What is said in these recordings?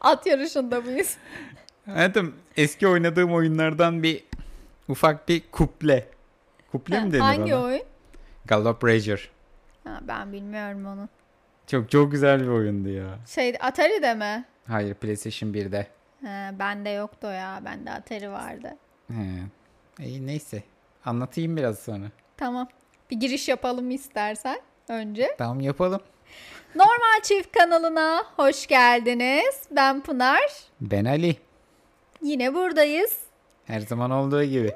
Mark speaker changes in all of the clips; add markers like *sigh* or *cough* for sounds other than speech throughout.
Speaker 1: At yarışında
Speaker 2: *laughs*
Speaker 1: mıyız?
Speaker 2: Hayatım eski oynadığım oyunlardan bir ufak bir kuple. Kuple mi denir
Speaker 1: Hangi
Speaker 2: ona?
Speaker 1: oyun?
Speaker 2: Gallop Ranger.
Speaker 1: Ha, ben bilmiyorum onu.
Speaker 2: Çok çok güzel bir oyundu ya.
Speaker 1: Şey Atari'de mi?
Speaker 2: Hayır PlayStation 1'de.
Speaker 1: Ha, bende yoktu o ya. Bende Atari vardı.
Speaker 2: He. İyi neyse. Anlatayım biraz sonra.
Speaker 1: Tamam. Bir giriş yapalım istersen önce.
Speaker 2: Tamam yapalım.
Speaker 1: Normal Çift kanalına hoş geldiniz. Ben Pınar.
Speaker 2: Ben Ali.
Speaker 1: Yine buradayız.
Speaker 2: Her zaman
Speaker 1: *laughs*
Speaker 2: olduğu gibi.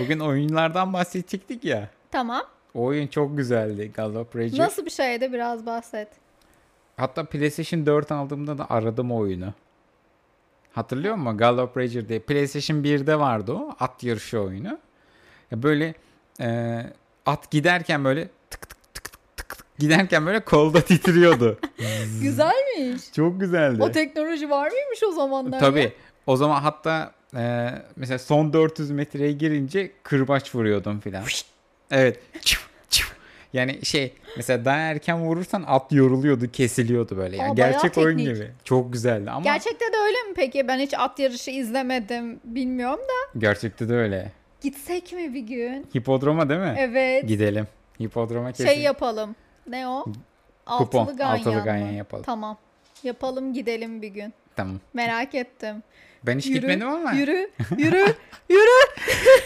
Speaker 2: Bugün oyunlardan bahsedecektik ya.
Speaker 1: Tamam.
Speaker 2: O oyun çok güzeldi. Gallop Ranger.
Speaker 1: Nasıl bir şeydi biraz bahset.
Speaker 2: Hatta PlayStation 4 aldığımda da aradım o oyunu. Hatırlıyor musun? Gallop Ranger diye. PlayStation 1'de vardı o. At yarışı oyunu. Ya böyle e, at giderken böyle tık tık tık tık tık tık giderken böyle kolda titriyordu.
Speaker 1: Güzelmiş.
Speaker 2: Çok güzeldi.
Speaker 1: O teknoloji var mıymış o zamanlar? ya?
Speaker 2: Tabii. O zaman hatta e, mesela son 400 metreye girince kırbaç vuruyordum filan. Evet. Çiv, çiv. Yani şey mesela daha erken vurursan at yoruluyordu, kesiliyordu böyle. Yani
Speaker 1: Aa, bayağı
Speaker 2: gerçek oyun
Speaker 1: teknik.
Speaker 2: gibi. Çok güzeldi ama
Speaker 1: Gerçekte de öyle mi peki? Ben hiç at yarışı izlemedim. Bilmiyorum da.
Speaker 2: gerçekte de öyle.
Speaker 1: Gitsek mi bir gün?
Speaker 2: Hipodroma değil mi?
Speaker 1: Evet.
Speaker 2: Gidelim. Hipodroma kesin.
Speaker 1: Şey yapalım. Ne o?
Speaker 2: Kupon,
Speaker 1: Altılı ganyan,
Speaker 2: altılı ganyan
Speaker 1: mı?
Speaker 2: yapalım.
Speaker 1: Tamam. Yapalım gidelim bir gün.
Speaker 2: Tamam.
Speaker 1: Merak ettim.
Speaker 2: Ben hiç
Speaker 1: Yürü,
Speaker 2: gitmedim ama.
Speaker 1: Yürü, yürü, yürü.
Speaker 2: *laughs*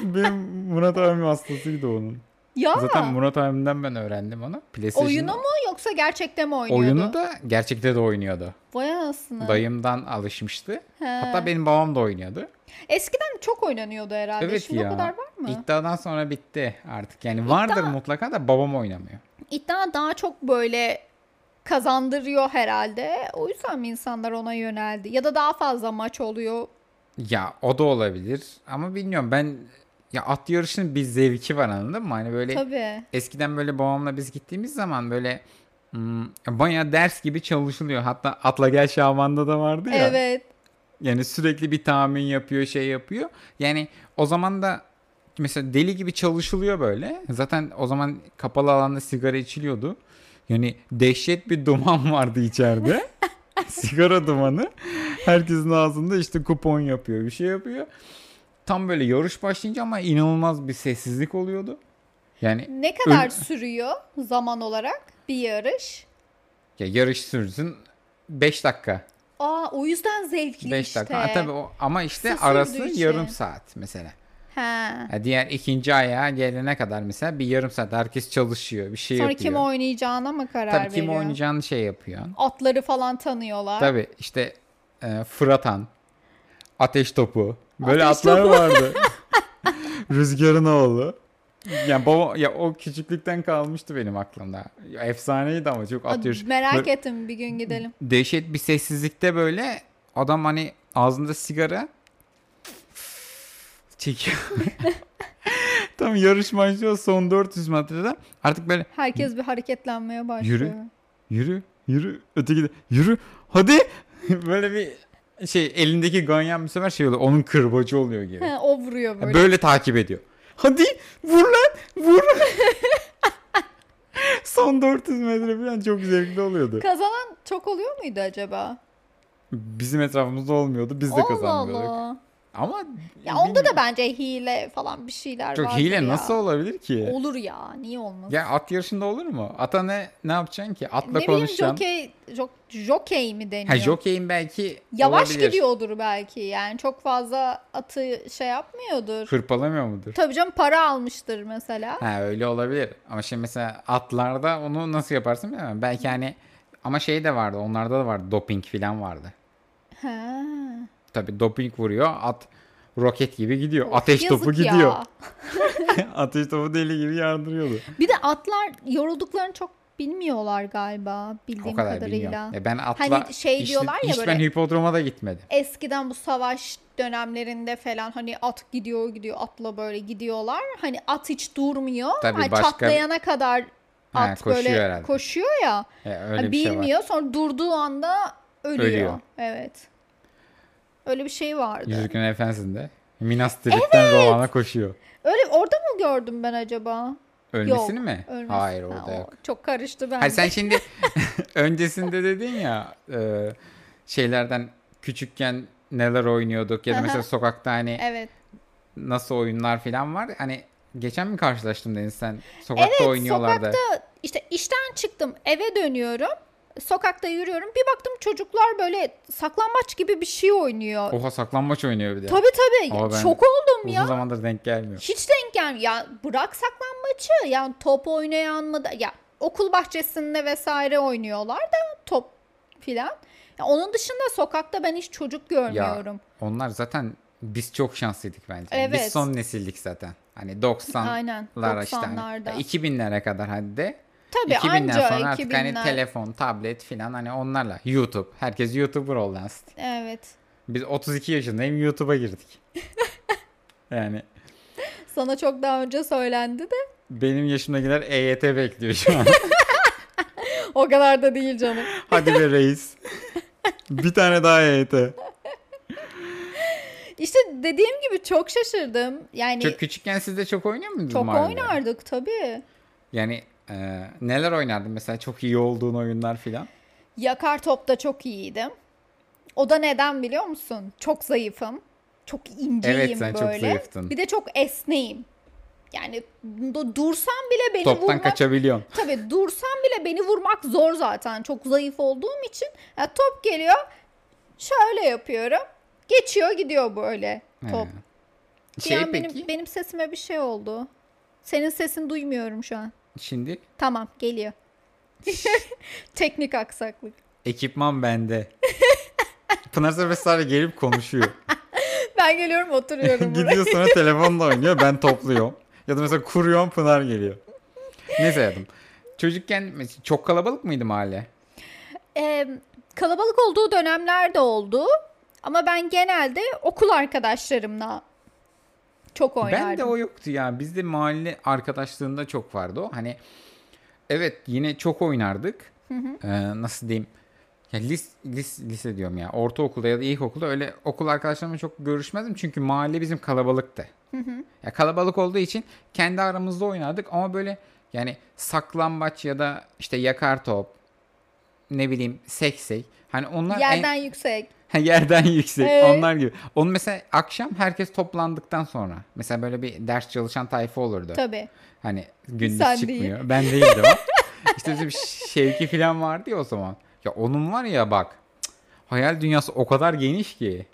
Speaker 2: Benim Murat abim hastasıydı onun.
Speaker 1: Ya
Speaker 2: Zaten Murat abimden ben öğrendim onu. PlayStation
Speaker 1: oyunu mu yoksa gerçekte mi oynuyordu?
Speaker 2: Oyunu da gerçekte de oynuyordu.
Speaker 1: Vay anasına.
Speaker 2: Dayımdan alışmıştı.
Speaker 1: He.
Speaker 2: Hatta benim babam da oynuyordu.
Speaker 1: Eskiden çok oynanıyordu herhalde.
Speaker 2: Evet
Speaker 1: Şimdi
Speaker 2: ya.
Speaker 1: o kadar var mı?
Speaker 2: İddiadan sonra bitti artık. Yani vardır mutlaka da babam oynamıyor.
Speaker 1: İddia daha çok böyle kazandırıyor herhalde. O yüzden mi insanlar ona yöneldi? Ya da daha fazla maç oluyor.
Speaker 2: Ya o da olabilir ama bilmiyorum ben ya at yarışının bir zevki var anladın mı? Hani böyle
Speaker 1: Tabii.
Speaker 2: eskiden böyle babamla biz gittiğimiz zaman böyle hmm, bayağı ders gibi çalışılıyor. Hatta Atla Gel Şaban'da da vardı ya.
Speaker 1: Evet.
Speaker 2: Yani sürekli bir tahmin yapıyor, şey yapıyor. Yani o zaman da mesela deli gibi çalışılıyor böyle. Zaten o zaman kapalı alanda sigara içiliyordu. Yani dehşet bir duman *laughs* vardı içeride. sigara dumanı. Herkesin ağzında işte kupon yapıyor, bir şey yapıyor. Tam böyle yarış başlayınca ama inanılmaz bir sessizlik oluyordu. Yani
Speaker 1: Ne kadar sürüyor zaman olarak bir yarış?
Speaker 2: ya yarış sürsün 5 dakika.
Speaker 1: Aa o yüzden zevkli
Speaker 2: 5
Speaker 1: işte.
Speaker 2: dakika. Ha, tabii o, ama işte
Speaker 1: Kısa sürdüğü
Speaker 2: arası
Speaker 1: için.
Speaker 2: yarım saat mesela.
Speaker 1: He.
Speaker 2: Ya diğer ikinci ayağa gelene kadar mesela bir yarım saat herkes çalışıyor. Bir şey
Speaker 1: Sonra
Speaker 2: yapıyor.
Speaker 1: kim oynayacağına mı karar
Speaker 2: Tabii
Speaker 1: veriyor?
Speaker 2: kim oynayacağını şey yapıyor.
Speaker 1: Atları falan tanıyorlar.
Speaker 2: Tabii işte e, fıratan, ateş topu. Böyle
Speaker 1: Ateş *laughs*
Speaker 2: atlar vardı. Rüzgarın oğlu. Yani baba ya o küçüklükten kalmıştı benim aklımda. Ya Efsaneydi ama çok
Speaker 1: Aa,
Speaker 2: at yarışı.
Speaker 1: Merak
Speaker 2: Böyle
Speaker 1: ettim bir gün gidelim.
Speaker 2: Dehşet bir sessizlikte böyle adam hani ağzında sigara çekiyor. *laughs* Tam yarış başlıyor son 400 metrede. Artık böyle
Speaker 1: Herkes bir hareketlenmeye başlıyor.
Speaker 2: Yürü, yürü, öteki de yürü, hadi. *laughs* Böyle bir şey elindeki ganyan bir sefer şey oluyor. Onun kırbacı oluyor gibi.
Speaker 1: He, o vuruyor böyle.
Speaker 2: böyle. takip ediyor. Hadi vur lan, vur. *laughs* Son 400 metre falan çok zevkli oluyordu.
Speaker 1: Kazanan çok oluyor muydu acaba?
Speaker 2: Bizim etrafımızda olmuyordu. Biz de
Speaker 1: Allah
Speaker 2: kazanmıyorduk.
Speaker 1: Allah.
Speaker 2: Ama
Speaker 1: Ya onda da bence hile falan bir şeyler
Speaker 2: çok
Speaker 1: vardır
Speaker 2: hile
Speaker 1: ya.
Speaker 2: nasıl olabilir ki?
Speaker 1: Olur ya. Niye olmaz?
Speaker 2: Ya at yarışında olur mu? Ata ne ne yapacaksın ki? Atla
Speaker 1: ne bileyim
Speaker 2: konuşacaksın.
Speaker 1: jokey, jok, jokey mi deniyor?
Speaker 2: Ha jokeyin belki
Speaker 1: Yavaş
Speaker 2: olabilir.
Speaker 1: gidiyordur belki. Yani çok fazla atı şey yapmıyordur.
Speaker 2: Hırpalamıyor mudur?
Speaker 1: Tabii canım para almıştır mesela.
Speaker 2: Ha öyle olabilir. Ama şimdi mesela atlarda onu nasıl yaparsın bilmiyorum. Belki hani ama şey de vardı. Onlarda da vardı. Doping falan vardı.
Speaker 1: Ha.
Speaker 2: Tabii doping vuruyor. At roket gibi gidiyor. Ateş
Speaker 1: Yazık
Speaker 2: topu
Speaker 1: ya.
Speaker 2: gidiyor. *laughs* Ateş topu deli gibi yardırıyordu.
Speaker 1: Bir de atlar yorulduklarını çok bilmiyorlar galiba bildiğim
Speaker 2: o kadar
Speaker 1: kadarıyla.
Speaker 2: bilmiyorum. Ya ben atla
Speaker 1: Hani şey diyorlar ya
Speaker 2: hiç
Speaker 1: böyle-
Speaker 2: ben hipodroma da gitmedim.
Speaker 1: Eskiden bu savaş dönemlerinde falan hani at gidiyor gidiyor atla böyle gidiyorlar. Hani at hiç durmuyor.
Speaker 2: Tabii
Speaker 1: Hani
Speaker 2: başka-
Speaker 1: çatlayana kadar
Speaker 2: Ha,
Speaker 1: at
Speaker 2: koşuyor
Speaker 1: böyle
Speaker 2: herhalde.
Speaker 1: koşuyor ya.
Speaker 2: Ya
Speaker 1: Hani
Speaker 2: öyle bir şey var.
Speaker 1: bilmiyor sonra durduğu anda ölüyor.
Speaker 2: Ölüyor.
Speaker 1: Evet. Öyle bir şey vardı.
Speaker 2: Yüzüklerin Efendisi'nde. Minas Tirith'ten Rohan'a koşuyor.
Speaker 1: Öyle orada mı gördüm ben acaba?
Speaker 2: Ölmesini
Speaker 1: Yok,
Speaker 2: mi?
Speaker 1: ölmesi-
Speaker 2: Hayır
Speaker 1: Ha,
Speaker 2: orada
Speaker 1: o
Speaker 2: yok.
Speaker 1: Çok karıştı ben.
Speaker 2: Hayır sen şimdi *laughs* öncesinde dedin ya e, şeylerden küçükken neler oynuyorduk ya da
Speaker 1: Aha.
Speaker 2: mesela sokakta hani
Speaker 1: Evet.
Speaker 2: nasıl oyunlar falan var. Hani geçen mi karşılaştım Deniz sen sokakta oynuyorlardı.
Speaker 1: İşte işten çıktım eve dönüyorum. Sokakta yürüyorum. Bir baktım çocuklar böyle saklambaç gibi bir şey oynuyor.
Speaker 2: Oha saklanmaç oynuyor bir de.
Speaker 1: Tabii tabii.
Speaker 2: Ama ben-
Speaker 1: Şok oldum
Speaker 2: Uzun
Speaker 1: ya.
Speaker 2: zamandır denk gelmiyor.
Speaker 1: Hiç denk gelmiyor. Ya bırak saklanmaçı. Yani top oynayan mı da ya okul bahçesinde vesaire oynuyorlar da top filan. Ya onun dışında sokakta ben hiç çocuk görmüyorum.
Speaker 2: Onlar zaten biz çok şanslıydık bence. Biz
Speaker 1: Evet.
Speaker 2: son nesildik zaten. Hani 90'lar
Speaker 1: Aynen.
Speaker 2: işte. Hani,
Speaker 1: 90'larda.
Speaker 2: 2000'lere kadar hadi de.
Speaker 1: Tabii
Speaker 2: 2000'den
Speaker 1: anca
Speaker 2: sonra artık
Speaker 1: 2000'ler.
Speaker 2: hani telefon, tablet filan hani onlarla. YouTube. Herkes YouTuber oldu aslında.
Speaker 1: Evet.
Speaker 2: Biz 32 yaşındayım
Speaker 1: *laughs*
Speaker 2: YouTube'a girdik. yani
Speaker 1: Sana çok daha önce söylendi de
Speaker 2: benim yaşımdakiler EYT bekliyor şu an. *laughs*
Speaker 1: o kadar da değil canım.
Speaker 2: Hadi be reis. Bir tane daha E EYT.
Speaker 1: İşte dediğim gibi çok şaşırdım. Yani
Speaker 2: Çok küçükken siz de çok oynuyor muydunuz
Speaker 1: çok
Speaker 2: mahallede?
Speaker 1: oynardık tabii.
Speaker 2: Yani e, neler oynardın mesela çok iyi olduğun oyunlar filan.
Speaker 1: Yakar topta çok iyiydim. O da neden biliyor musun? Çok zayıfım. Çok inceyim
Speaker 2: Evet, sen çok
Speaker 1: böyle.
Speaker 2: zayıftın.
Speaker 1: Bir de çok esneyim. Yani du- dursam bile beni
Speaker 2: Toptan
Speaker 1: vurmak
Speaker 2: kaçabiliyorsun.
Speaker 1: tabii dursam bile beni vurmak zor zaten. Çok zayıf olduğum için. Ya top geliyor. Şöyle yapıyorum. Geçiyor gidiyor böyle top.
Speaker 2: He.
Speaker 1: Bir
Speaker 2: Şey
Speaker 1: an
Speaker 2: peki
Speaker 1: benim benim sesime bir şey oldu. Senin sesini duymuyorum şu an.
Speaker 2: şimdi
Speaker 1: Tamam geliyor. *laughs* Teknik aksaklık.
Speaker 2: ekipman bende.
Speaker 1: *laughs*
Speaker 2: Pınar Serbestar'la gelip konuşuyor.
Speaker 1: Ben geliyorum
Speaker 2: *laughs*
Speaker 1: oturuyorum buraya.
Speaker 2: Gidiyor sonra telefonla oynuyor ben topluyorum. Ya da mesela kuruyorum Pınar geliyor. Neyse yaptım. Çocukken mes- çok kalabalık mıydı mahalle?
Speaker 1: Ee, kalabalık olduğu dönemler de oldu. Ama ben genelde okul arkadaşlarımla çok oynardım.
Speaker 2: Ben de o yoktu ya. Bizde mahalle arkadaşlığında çok vardı o. Hani evet yine çok oynardık. Ee, nasıl diyeyim? Ya lis, lis, lise diyorum ya. Ortaokulda ya da ilkokulda öyle okul arkadaşlarımla çok görüşmezdim. Çünkü mahalle bizim kalabalıktı. Ya kalabalık olduğu için kendi aramızda oynardık ama böyle yani saklambaç ya da işte yakar top ne bileyim seksek hani onlar en-
Speaker 1: Yerden yüksek.
Speaker 2: Ha, Yerden *laughs* yüksek.
Speaker 1: Evet.
Speaker 2: Onlar gibi. Onu mesela akşam herkes toplandıktan sonra. Mesela böyle bir ders çalışan tayfa olurdu.
Speaker 1: Tabii.
Speaker 2: Hani gündüz
Speaker 1: Sen
Speaker 2: çıkmıyor.
Speaker 1: *laughs*
Speaker 2: Ben değildim o. işte bizim Şevki falan vardı ya o zaman. Ya onun var ya bak. cık, Hayal dünyası o kadar geniş ki.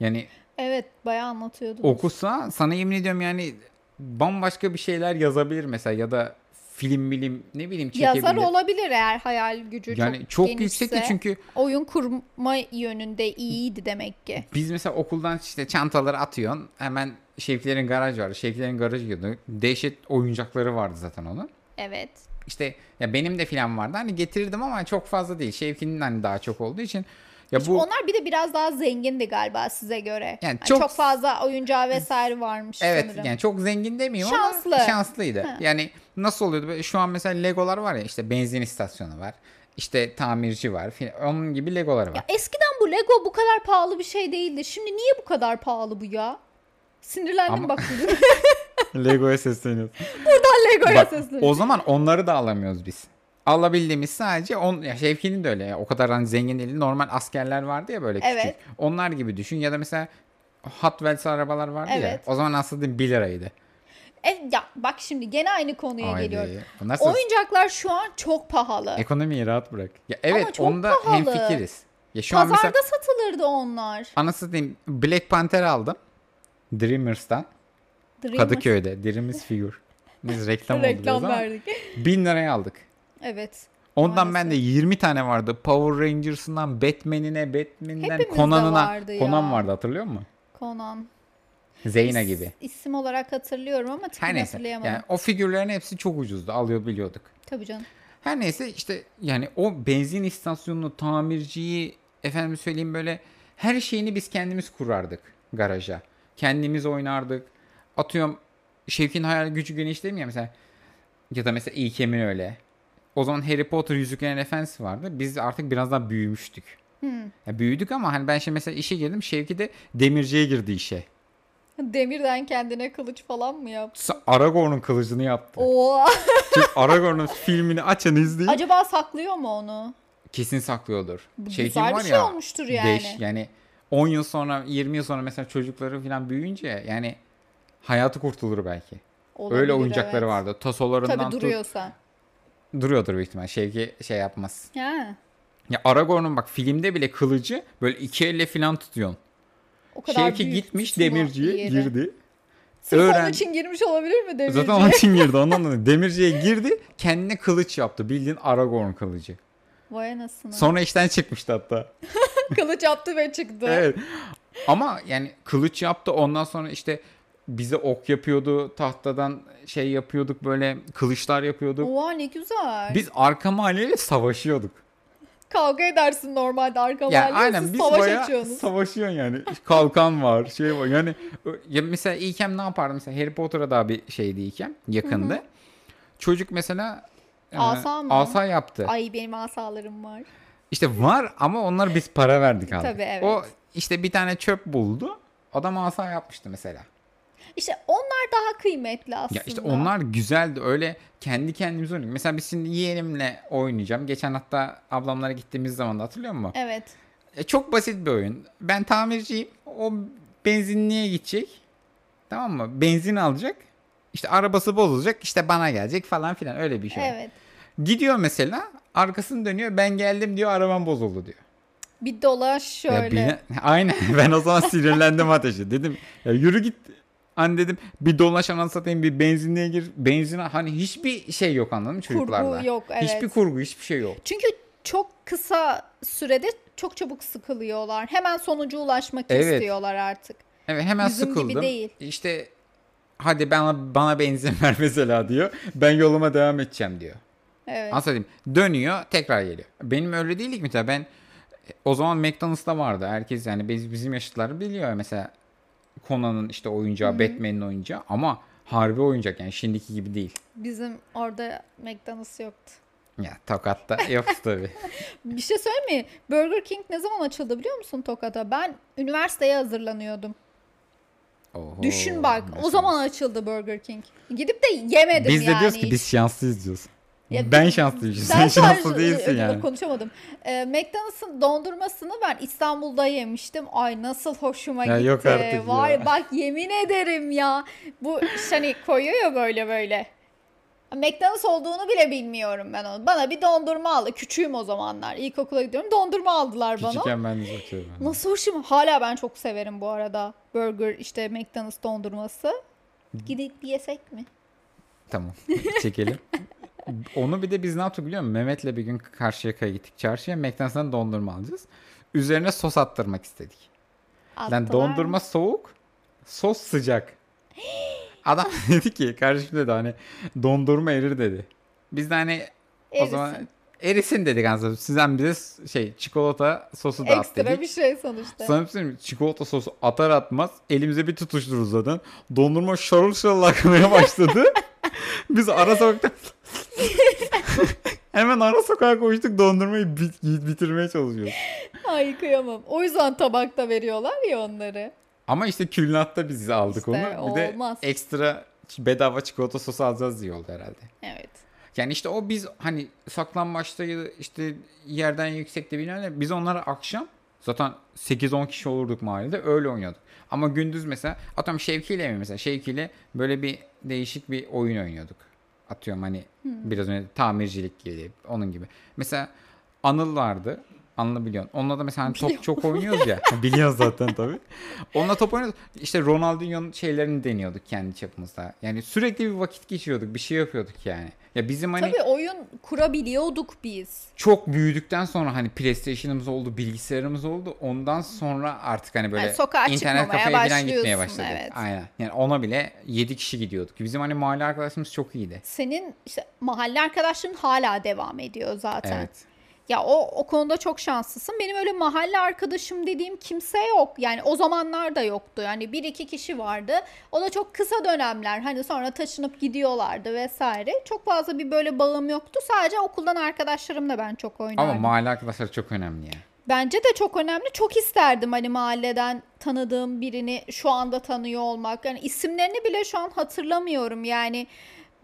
Speaker 2: Yani
Speaker 1: Evet bayağı anlatıyordun.
Speaker 2: okusa sana yemin ediyorum yani bambaşka bir şeyler yazabilir mesela ya da film bilim ne bileyim çekebilir.
Speaker 1: Yazar olabilir eğer hayal gücü
Speaker 2: yani
Speaker 1: çok,
Speaker 2: çok,
Speaker 1: genişse.
Speaker 2: yüksek de çünkü
Speaker 1: Oyun kurma yönünde iyiydi demek ki.
Speaker 2: Biz mesela okuldan işte çantaları atıyorsun. Hemen Şevkilerin garajı vardı. Şevkilerin garajı gidiyordu. Dehşet oyuncakları vardı zaten onun.
Speaker 1: Evet.
Speaker 2: İşte ya benim de filan vardı. Hani getirirdim ama çok fazla değil. Şevki'nin hani daha çok olduğu için. Ya bu
Speaker 1: Onlar bir de biraz daha zengindi galiba size göre.
Speaker 2: Yani
Speaker 1: Yani
Speaker 2: çok-
Speaker 1: çok, fazla oyuncağı vesaire varmış
Speaker 2: evet
Speaker 1: sanırım.
Speaker 2: yani çok zengin demiyorum ama
Speaker 1: Şanslı.
Speaker 2: şanslıydı.
Speaker 1: Ha.
Speaker 2: Yani nasıl oluyordu? Böyle şu an mesela Legolar var ya işte benzin istasyonu var. İşte tamirci var. filan. Onun gibi Legolar var.
Speaker 1: Ya eskiden bu Lego bu kadar pahalı bir şey değildi. Şimdi niye bu kadar pahalı bu ya? Sinirlendim
Speaker 2: Ama-
Speaker 1: bak. *laughs*
Speaker 2: Lego'ya sesleniyorsun.
Speaker 1: Buradan Lego'ya
Speaker 2: Bak,
Speaker 1: sesleniyorum.
Speaker 2: o zaman onları da alamıyoruz biz. Alabildiğimiz sadece on, ya Şevki'nin de öyle ya. o kadar hani zengin değil. Normal askerler vardı ya böyle küçük.
Speaker 1: Evet.
Speaker 2: Onlar gibi düşün ya da mesela Hot Wheels arabalar vardı ya.
Speaker 1: Evet.
Speaker 2: O zaman aslında 1 liraydı.
Speaker 1: E, ya bak şimdi gene aynı konuya
Speaker 2: Haydi. E,
Speaker 1: geliyoruz.
Speaker 2: Bunlar sırf
Speaker 1: Oyuncaklar şu an çok pahalı.
Speaker 2: ekonomiyi rahat bırak. Ya evet
Speaker 1: çok
Speaker 2: onda
Speaker 1: pahalı.
Speaker 2: hemfikiriz. Ya şu an
Speaker 1: Pazarda
Speaker 2: mesela
Speaker 1: satılırdı onlar.
Speaker 2: anasını diyeyim Black Panther aldım. Dreamers'tan.
Speaker 1: Dreamers. *laughs*
Speaker 2: Kadıköy'de. Dreamers figür. Biz reklam oldu biraz
Speaker 1: Reklam
Speaker 2: ama.
Speaker 1: verdik.
Speaker 2: 1000 liraya aldık.
Speaker 1: evet.
Speaker 2: Ondan
Speaker 1: Maalesef.
Speaker 2: ben de 20 tane vardı. Power Rangers'ından Batman'ine, Batman'den
Speaker 1: Hepimizde
Speaker 2: Conan'ına.
Speaker 1: vardı ya.
Speaker 2: Conan vardı hatırlıyor musun?
Speaker 1: Conan.
Speaker 2: Zeyna
Speaker 1: İs-
Speaker 2: gibi.
Speaker 1: İsim olarak hatırlıyorum ama tipini
Speaker 2: Her neyse.
Speaker 1: hatırlayamadım.
Speaker 2: Yani o figürlerin hepsi çok ucuzdu. Alıyor biliyorduk.
Speaker 1: Tabii canım.
Speaker 2: Her neyse işte yani o benzin istasyonunu, tamirciyi, efendim söyleyeyim böyle her şeyini biz kendimiz kurardık garaja. Kendimiz oynardık. Atıyorum Şevkin hayal gücü geniş değil mi ya mesela? Ya da mesela İlkem'in öyle. O zaman Harry Potter Yüzüklerin Efendisi vardı. Biz artık biraz daha büyümüştük.
Speaker 1: Hmm.
Speaker 2: Ya büyüdük ama hani ben şimdi mesela işe girdim. Şevki de demirciye girdi işe.
Speaker 1: Demirden kendine kılıç falan mı yaptı?
Speaker 2: S- Aragorn'un kılıcını yaptı.
Speaker 1: Oo.
Speaker 2: Çünkü Aragorn'un filmini açın izleyin.
Speaker 1: Acaba saklıyor mu onu?
Speaker 2: Kesin saklıyordur.
Speaker 1: Bu
Speaker 2: Şey
Speaker 1: güzel
Speaker 2: film
Speaker 1: bir
Speaker 2: var
Speaker 1: şey
Speaker 2: ya,
Speaker 1: olmuştur yani.
Speaker 2: Deş yani 10 yıl sonra 20 yıl sonra mesela çocukları falan büyüyünce yani hayatı kurtulur belki. Öyle
Speaker 1: Olabilir,
Speaker 2: oyuncakları
Speaker 1: evet.
Speaker 2: vardı. Tasolarından
Speaker 1: Tabii
Speaker 2: tut-
Speaker 1: duruyorsa.
Speaker 2: duruyordur büyük ihtimal. Şevki şey yapmaz.
Speaker 1: Ha.
Speaker 2: Ya Aragorn'un bak filmde bile kılıcı böyle iki elle falan tutuyorsun.
Speaker 1: O kadar
Speaker 2: Şevki
Speaker 1: büyük
Speaker 2: gitmiş
Speaker 1: tutma
Speaker 2: demirciye
Speaker 1: yeri.
Speaker 2: girdi.
Speaker 1: Sırf onun
Speaker 2: öğren-
Speaker 1: için girmiş olabilir mi demirciye?
Speaker 2: Zaten onun için girdi ondan dolayı. Demirciye girdi kendine kılıç yaptı. Bildiğin Aragorn kılıcı.
Speaker 1: Vay anasını.
Speaker 2: Sonra işten çıkmıştı hatta.
Speaker 1: *laughs* Kılıç yaptı ve *laughs* çıktı.
Speaker 2: Evet. Ama yani kılıç yaptı ondan sonra işte bize ok yapıyordu tahtadan şey yapıyorduk böyle kılıçlar yapıyorduk.
Speaker 1: Oha ne güzel.
Speaker 2: Biz arka mahalleyle savaşıyorduk.
Speaker 1: Kavga edersin normalde arka
Speaker 2: Yani
Speaker 1: mahallede,
Speaker 2: aynen
Speaker 1: siz
Speaker 2: biz
Speaker 1: savaş
Speaker 2: bayağı
Speaker 1: açıyorsunuz.
Speaker 2: savaşıyorsun yani. Kalkan var şey var yani. ö- Ya mesela İlkem ne yapardı mesela Harry Potter'a daha bir şeydi İlkem yakında. Çocuk mesela e,
Speaker 1: Asa mı?
Speaker 2: asa yaptı.
Speaker 1: Ay benim asalarım var.
Speaker 2: İşte var ama onlar biz para verdik abi.
Speaker 1: Tabii, evet.
Speaker 2: O işte bir tane çöp buldu. Adam asa yapmıştı mesela.
Speaker 1: İşte onlar daha kıymetli aslında.
Speaker 2: Ya işte onlar güzeldi öyle kendi kendimize oynuyoruz. Mesela biz şimdi yeğenimle oynayacağım. Geçen hatta ablamlara gittiğimiz zaman da hatırlıyor musun?
Speaker 1: Evet.
Speaker 2: E, çok basit bir oyun. Ben tamirciyim. O benzinliğe gidecek. Tamam mı? Benzin alacak. İşte arabası bozulacak. İşte bana gelecek falan filan öyle bir şey.
Speaker 1: Evet.
Speaker 2: Gidiyor mesela arkasını dönüyor. Ben geldim diyor arabam bozuldu diyor.
Speaker 1: Bir dolaş
Speaker 2: Ya
Speaker 1: şöyle.
Speaker 2: bina- *laughs* aynen ben o zaman sinirlendim ateşi. Dedim ya yürü git. Hani dedim bir dolaş anasını satayım bir benzinliğe gir. Benzine hani hiçbir şey yok anladın mı çocuklarda?
Speaker 1: Kurgu yok, evet.
Speaker 2: Hiçbir kurgu hiçbir şey yok.
Speaker 1: Çünkü çok kısa sürede çok çabuk sıkılıyorlar. Hemen sonuca ulaşmak
Speaker 2: Evet.
Speaker 1: istiyorlar artık.
Speaker 2: Evet hemen
Speaker 1: Bizim gibi
Speaker 2: sıkıldım.
Speaker 1: değil.
Speaker 2: İşte hadi bana, bana benzin *laughs* ver mesela diyor. Ben yoluma devam edeceğim diyor.
Speaker 1: Evet.
Speaker 2: Anasını satayım dönüyor tekrar geliyor. Benim öyle değildik mesela ben o zaman McDonald's'ta vardı. Herkes yani biz, bizim yaşlılar biliyor mesela Conan'ın işte oyuncağı, Batman'in oyuncağı ama harbi oyuncak yani şimdiki gibi değil.
Speaker 1: Bizim orada McDonald's yoktu.
Speaker 2: Ya
Speaker 1: *laughs*
Speaker 2: Tokat'ta yok tabii.
Speaker 1: Bir şey söyleyeyim mi? Burger King ne zaman açıldı biliyor musun Tokat'a? Ben üniversiteye hazırlanıyordum.
Speaker 2: Oho,
Speaker 1: Düşün bak. O
Speaker 2: mesela.
Speaker 1: zaman açıldı Burger King. Gidip de yemedim
Speaker 2: biz de
Speaker 1: yani.
Speaker 2: diyoruz ki
Speaker 1: hiç.
Speaker 2: biz şanslıyız diyoruz.
Speaker 1: Ya
Speaker 2: ben
Speaker 1: biz-
Speaker 2: şanslıyım. Sen, şanslı
Speaker 1: sadece-
Speaker 2: değilsin
Speaker 1: Ö-
Speaker 2: yani.
Speaker 1: Konuşamadım. Ee, McDonald's'ın dondurmasını ben İstanbul'da yemiştim. Ay nasıl hoşuma
Speaker 2: Ya
Speaker 1: gitti.
Speaker 2: yok artık
Speaker 1: Var
Speaker 2: ya.
Speaker 1: bak yemin ederim ya. Bu işte hani koyuyor ya böyle böyle. McDonald's olduğunu bile bilmiyorum ben onu. Bana bir dondurma aldı. Küçüğüm o zamanlar. İlkokula gidiyorum. Dondurma aldılar bana.
Speaker 2: Küçükken ben de çok sevdim.
Speaker 1: Nasıl hoşuma. Hala ben çok severim bu arada. Burger işte McDonald's dondurması.
Speaker 2: Hmm.
Speaker 1: Gidip yesek mi?
Speaker 2: Tamam. Çekelim. *laughs* Onu bir de biz ne yaptık biliyor musun? Mehmet'le bir gün Karşıyaka'ya gittik. Çarşıya McDonald's'tan dondurma alacağız. Üzerine sos attırmak istedik. Lan
Speaker 1: Attılar.
Speaker 2: dondurma soğuk, sos sıcak. *gasps* Adam *laughs* dedi ki, kardeşim dedi hani dondurma erir dedi. Biz de hani o
Speaker 1: Erisin.
Speaker 2: zaman erisin dedik anasını. Sizden bize s- şey çikolata sosu da at
Speaker 1: Ekstra
Speaker 2: dedik.
Speaker 1: bir şey sonuçta.
Speaker 2: Sana bir şey söyleyeyim mi? çikolata sosu atar atmaz elimize bir tutuşturur zaten. Dondurma şarıl şarıl
Speaker 1: *laughs*
Speaker 2: akmaya başladı. Biz ara sokakta hemen ara sokağa koştuk dondurmayı bit- bitirmeye çalışıyoruz.
Speaker 1: Ay kıyamam. O yüzden tabakta veriyorlar ya onları.
Speaker 2: Ama işte külnatta biz aldık
Speaker 1: İşte
Speaker 2: onu. Bir de
Speaker 1: olmaz.
Speaker 2: ekstra ç- bedava çikolata sosu alacağız diye oldu herhalde.
Speaker 1: Evet.
Speaker 2: Yani işte o biz hani saklanmaçta ya da işte yerden yüksekte bilmem ne biz onlara akşam zaten 8-10 kişi olurduk mahallede öyle oynuyorduk. Ama gündüz mesela atıyorum Şevki ile mi mesela Şevki ile böyle bir değişik bir oyun oynuyorduk. Atıyorum hani biraz önce tamircilik gibi onun gibi. Mesela Anıl vardı. Anıl'ı biliyorsun. Onunla da mesela hani top çok
Speaker 1: *laughs*
Speaker 2: oynuyoruz ya. Biliyorsun zaten tabii. Onunla top oynuyoruz. İşte Ronaldinho'nun şeylerini deniyorduk kendi çapımızda. Yani sürekli bir vakit geçiriyorduk. Bir şey yapıyorduk yani. Ya bizim hani
Speaker 1: Tabii oyun kurabiliyorduk biz.
Speaker 2: çok büyüdükten sonra hani PlayStation'ımız oldu, bilgisayarımız oldu. Ondan sonra artık hani böyle
Speaker 1: Yani sokağa
Speaker 2: internet
Speaker 1: çıkmamaya
Speaker 2: kafeye falan gitmeye
Speaker 1: başlıyorsun,
Speaker 2: başladık.
Speaker 1: evet.
Speaker 2: Aynen. Yani ona bile 7 kişi gidiyorduk. Bizim hani mahalle arkadaşımız çok iyiydi.
Speaker 1: Senin işte mahalle arkadaşların hala devam ediyor zaten.
Speaker 2: Evet.
Speaker 1: Ya o o konuda çok şanslısın. Benim öyle mahalle arkadaşım dediğim kimse yok. Yani o zamanlar da yoktu. Yani bir iki kişi vardı. O da çok kısa dönemler. Hani sonra taşınıp gidiyorlardı vesaire. Çok fazla bir böyle bağım yoktu. Sadece okuldan arkadaşlarımla ben çok
Speaker 2: Ama
Speaker 1: oynardım.
Speaker 2: mahalle arkadaşları çok önemli ya.
Speaker 1: Bence de çok önemli. Çok isterdim hani mahalleden tanıdığım birini şu anda tanıyor olmak. Yani isimlerini bile şu an hatırlamıyorum. Yani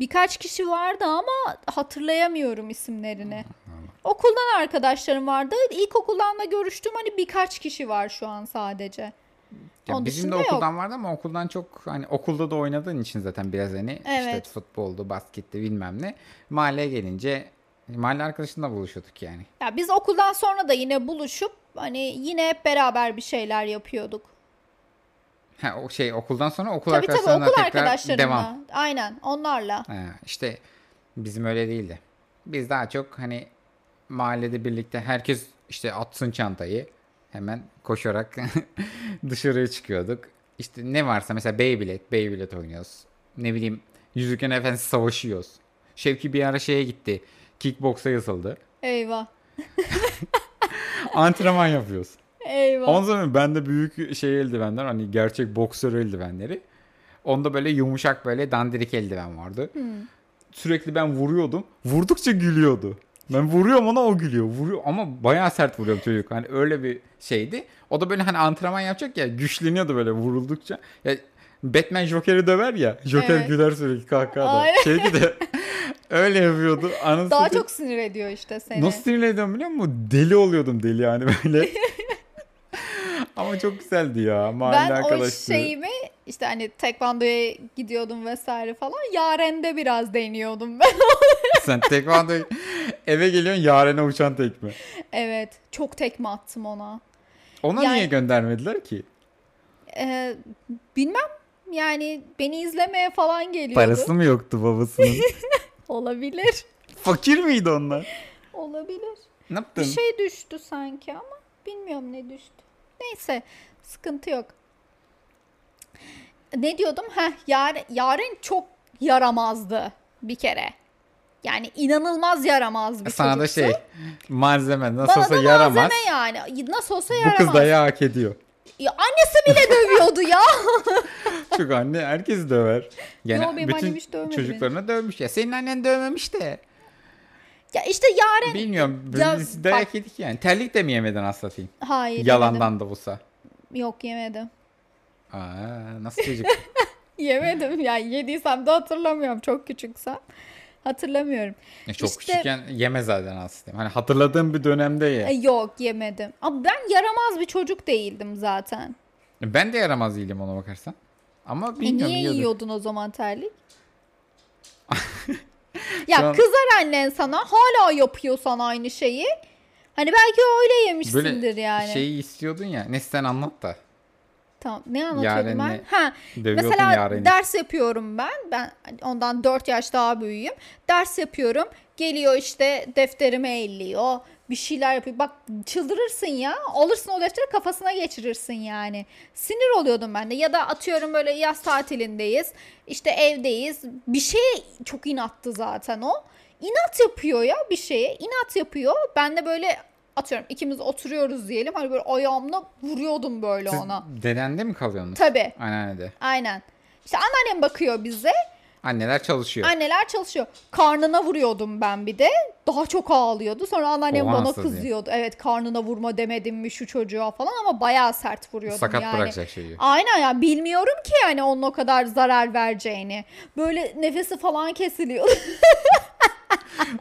Speaker 1: birkaç kişi vardı ama hatırlayamıyorum isimlerini. Okuldan arkadaşlarım vardı. İlkokuldan da görüştüm. Hani birkaç kişi var şu an sadece.
Speaker 2: Ya
Speaker 1: Onun
Speaker 2: bizim de
Speaker 1: dışında
Speaker 2: okuldan vardı ama okuldan çok hani okulda da oynadığın için zaten biraz hani
Speaker 1: Evet.
Speaker 2: işte futboldu, basketti bilmem ne. Mahalleye gelince mahalle arkadaşınla buluşuyorduk yani.
Speaker 1: Ya biz okuldan sonra da yine buluşup hani yine hep beraber bir şeyler yapıyorduk.
Speaker 2: Ha, o şey okuldan sonra okul
Speaker 1: Tabii tabii
Speaker 2: arkadaşlarına
Speaker 1: okul
Speaker 2: tekrar
Speaker 1: arkadaşlarımla.
Speaker 2: devam.
Speaker 1: Aynen onlarla.
Speaker 2: Ha, Ee, işte bizim öyle değildi. Biz daha çok hani mahallede birlikte herkes işte atsın çantayı hemen koşarak *laughs* dışarıya çıkıyorduk. İşte ne varsa mesela Beyblade, Beyblade oynuyoruz. Ne bileyim Yüzüklerin Efendisi savaşıyoruz. Şevki bir ara şeye gitti. Kickboksa yazıldı.
Speaker 1: Eyvah.
Speaker 2: Antrenman yapıyoruz.
Speaker 1: Eyvah.
Speaker 2: Ondan sonra bende büyük şey eldivenler hani gerçek boksör eldivenleri. Onda böyle yumuşak böyle dandirik eldiven vardı.
Speaker 1: Hmm.
Speaker 2: Sürekli ben vuruyordum. Vurdukça gülüyordu. Ben vuruyorum ona o gülüyor. Vuruyor ama bayağı sert vuruyorum çocuk. Hani öyle bir şeydi. O da böyle hani antrenman yapacak ya güçleniyordu böyle vuruldukça. Ya Batman Joker'i döver ya. Joker
Speaker 1: Evet.
Speaker 2: güler sürekli kahkaha da.
Speaker 1: Aynen.
Speaker 2: Şey
Speaker 1: *laughs*
Speaker 2: de öyle yapıyordu. Anasını
Speaker 1: Daha
Speaker 2: satayım.
Speaker 1: çok sinir ediyor işte seni.
Speaker 2: Nasıl sinirliydim biliyor musun? Deli oluyordum deli yani
Speaker 1: *laughs*
Speaker 2: böyle. Ama çok güzeldi ya. Mahalle
Speaker 1: ben o
Speaker 2: arkadaşlığı.
Speaker 1: şeyimi işte hani tekvandoya gidiyordum vesaire falan. Yarende biraz deniyordum ben.
Speaker 2: *laughs*
Speaker 1: *laughs*
Speaker 2: Sen tekvando eve geliyorsun yarına uçan tekme.
Speaker 1: evet. Çok tekme attım ona.
Speaker 2: Ona
Speaker 1: Yani-
Speaker 2: niye göndermediler ki?
Speaker 1: Ee, bilmem yani beni izlemeye falan geliyordu.
Speaker 2: Parası mı yoktu babasının?
Speaker 1: *laughs* Olabilir. *laughs*
Speaker 2: Fakir miydi onlar?
Speaker 1: Olabilir.
Speaker 2: Ne yaptın?
Speaker 1: Bir şey düştü sanki ama bilmiyorum ne düştü. Neyse sıkıntı yok. Ne diyordum? Heh, Yaren, Yaren çok yaramazdı bir kere. Yani inanılmaz yaramaz bir
Speaker 2: Sana da
Speaker 1: çocuktu.
Speaker 2: şey malzeme nasıl
Speaker 1: Bana
Speaker 2: olsa
Speaker 1: da
Speaker 2: yaramaz.
Speaker 1: malzeme yani. Nasıl olsa
Speaker 2: Bu
Speaker 1: yaramaz.
Speaker 2: kız dayağı hak ediyor.
Speaker 1: Ya annesi bile dövüyordu ya.
Speaker 2: Çünkü anne herkes döver. Yani
Speaker 1: Yo, benim annem hiç
Speaker 2: bütün
Speaker 1: dövmedi
Speaker 2: çocuklarına dövmüş ya. Senin annen dövmemiş
Speaker 1: *laughs*
Speaker 2: de.
Speaker 1: Ya işte Yaren...
Speaker 2: Bilmiyorum.
Speaker 1: Ya
Speaker 2: Biz dayak yedik yani. Terlik de mi yemedin aslatayım?
Speaker 1: Hayır. yemedim.
Speaker 2: Yalandan da olsa.
Speaker 1: Yok yemedim.
Speaker 2: Aa, nasıl çocuk?
Speaker 1: Yemedim yani yediysem de hatırlamıyorum. Çok küçüksem. Hatırlamıyorum.
Speaker 2: Ya çok
Speaker 1: İşte-
Speaker 2: küçükken yeme zaten aslında. Hani hatırladığım bir dönemde ye.
Speaker 1: E, yok yemedim. Ama ben yaramaz bir çocuk değildim zaten.
Speaker 2: Ben de yaramaz değilim ona bakarsan. Ama
Speaker 1: E,
Speaker 2: bilmiyorum
Speaker 1: niye
Speaker 2: yiyorduk.
Speaker 1: yiyordun o zaman
Speaker 2: *laughs*
Speaker 1: terlik?
Speaker 2: Şu
Speaker 1: ya
Speaker 2: an-
Speaker 1: kızar annen sana hala yapıyorsan aynı şeyi. Hani belki öyle yemişsindir
Speaker 2: Böyle şey
Speaker 1: yani.
Speaker 2: şeyi istiyordun ya. Neyse sen anlat da.
Speaker 1: Tamam. Ne anlatıyordum
Speaker 2: Yarenle-
Speaker 1: ben? Ha.
Speaker 2: Dövüyordun
Speaker 1: Mesela
Speaker 2: yareni.
Speaker 1: ders yapıyorum ben. Ben ondan 4 yaş daha büyüğüm. Ders yapıyorum. Geliyor işte defterime elliyor. Bir şeyler yapıyor. Bak çıldırırsın ya. Alırsın o defteri kafasına geçirirsin yani. Sinir oluyordum ben de. Ya da atıyorum böyle yaz tatilindeyiz. İşte evdeyiz. Bir şeye çok inattı zaten o. İnat yapıyor ya bir şeye. İnat yapıyor. Ben de böyle atıyorum ikimiz oturuyoruz diyelim. Hani böyle ayağımla vuruyordum böyle
Speaker 2: Siz
Speaker 1: ona.
Speaker 2: dedende mi kalıyorsunuz?
Speaker 1: Tabii.
Speaker 2: Anneannede.
Speaker 1: Aynen. İşte anneannem bakıyor bize.
Speaker 2: Anneler çalışıyor.
Speaker 1: Anneler çalışıyor. Karnına vuruyordum ben bir de. Daha çok ağlıyordu. Sonra anneannem
Speaker 2: Oha,
Speaker 1: bana
Speaker 2: nasıl diye.
Speaker 1: kızıyordu. Evet karnına vurma demedim mi şu çocuğa falan ama bayağı sert vuruyordum
Speaker 2: Sakat
Speaker 1: yani.
Speaker 2: bırakacak şey şeyi.
Speaker 1: Aynen ya bilmiyorum ki yani onun o kadar zarar vereceğini. Böyle nefesi falan kesiliyor.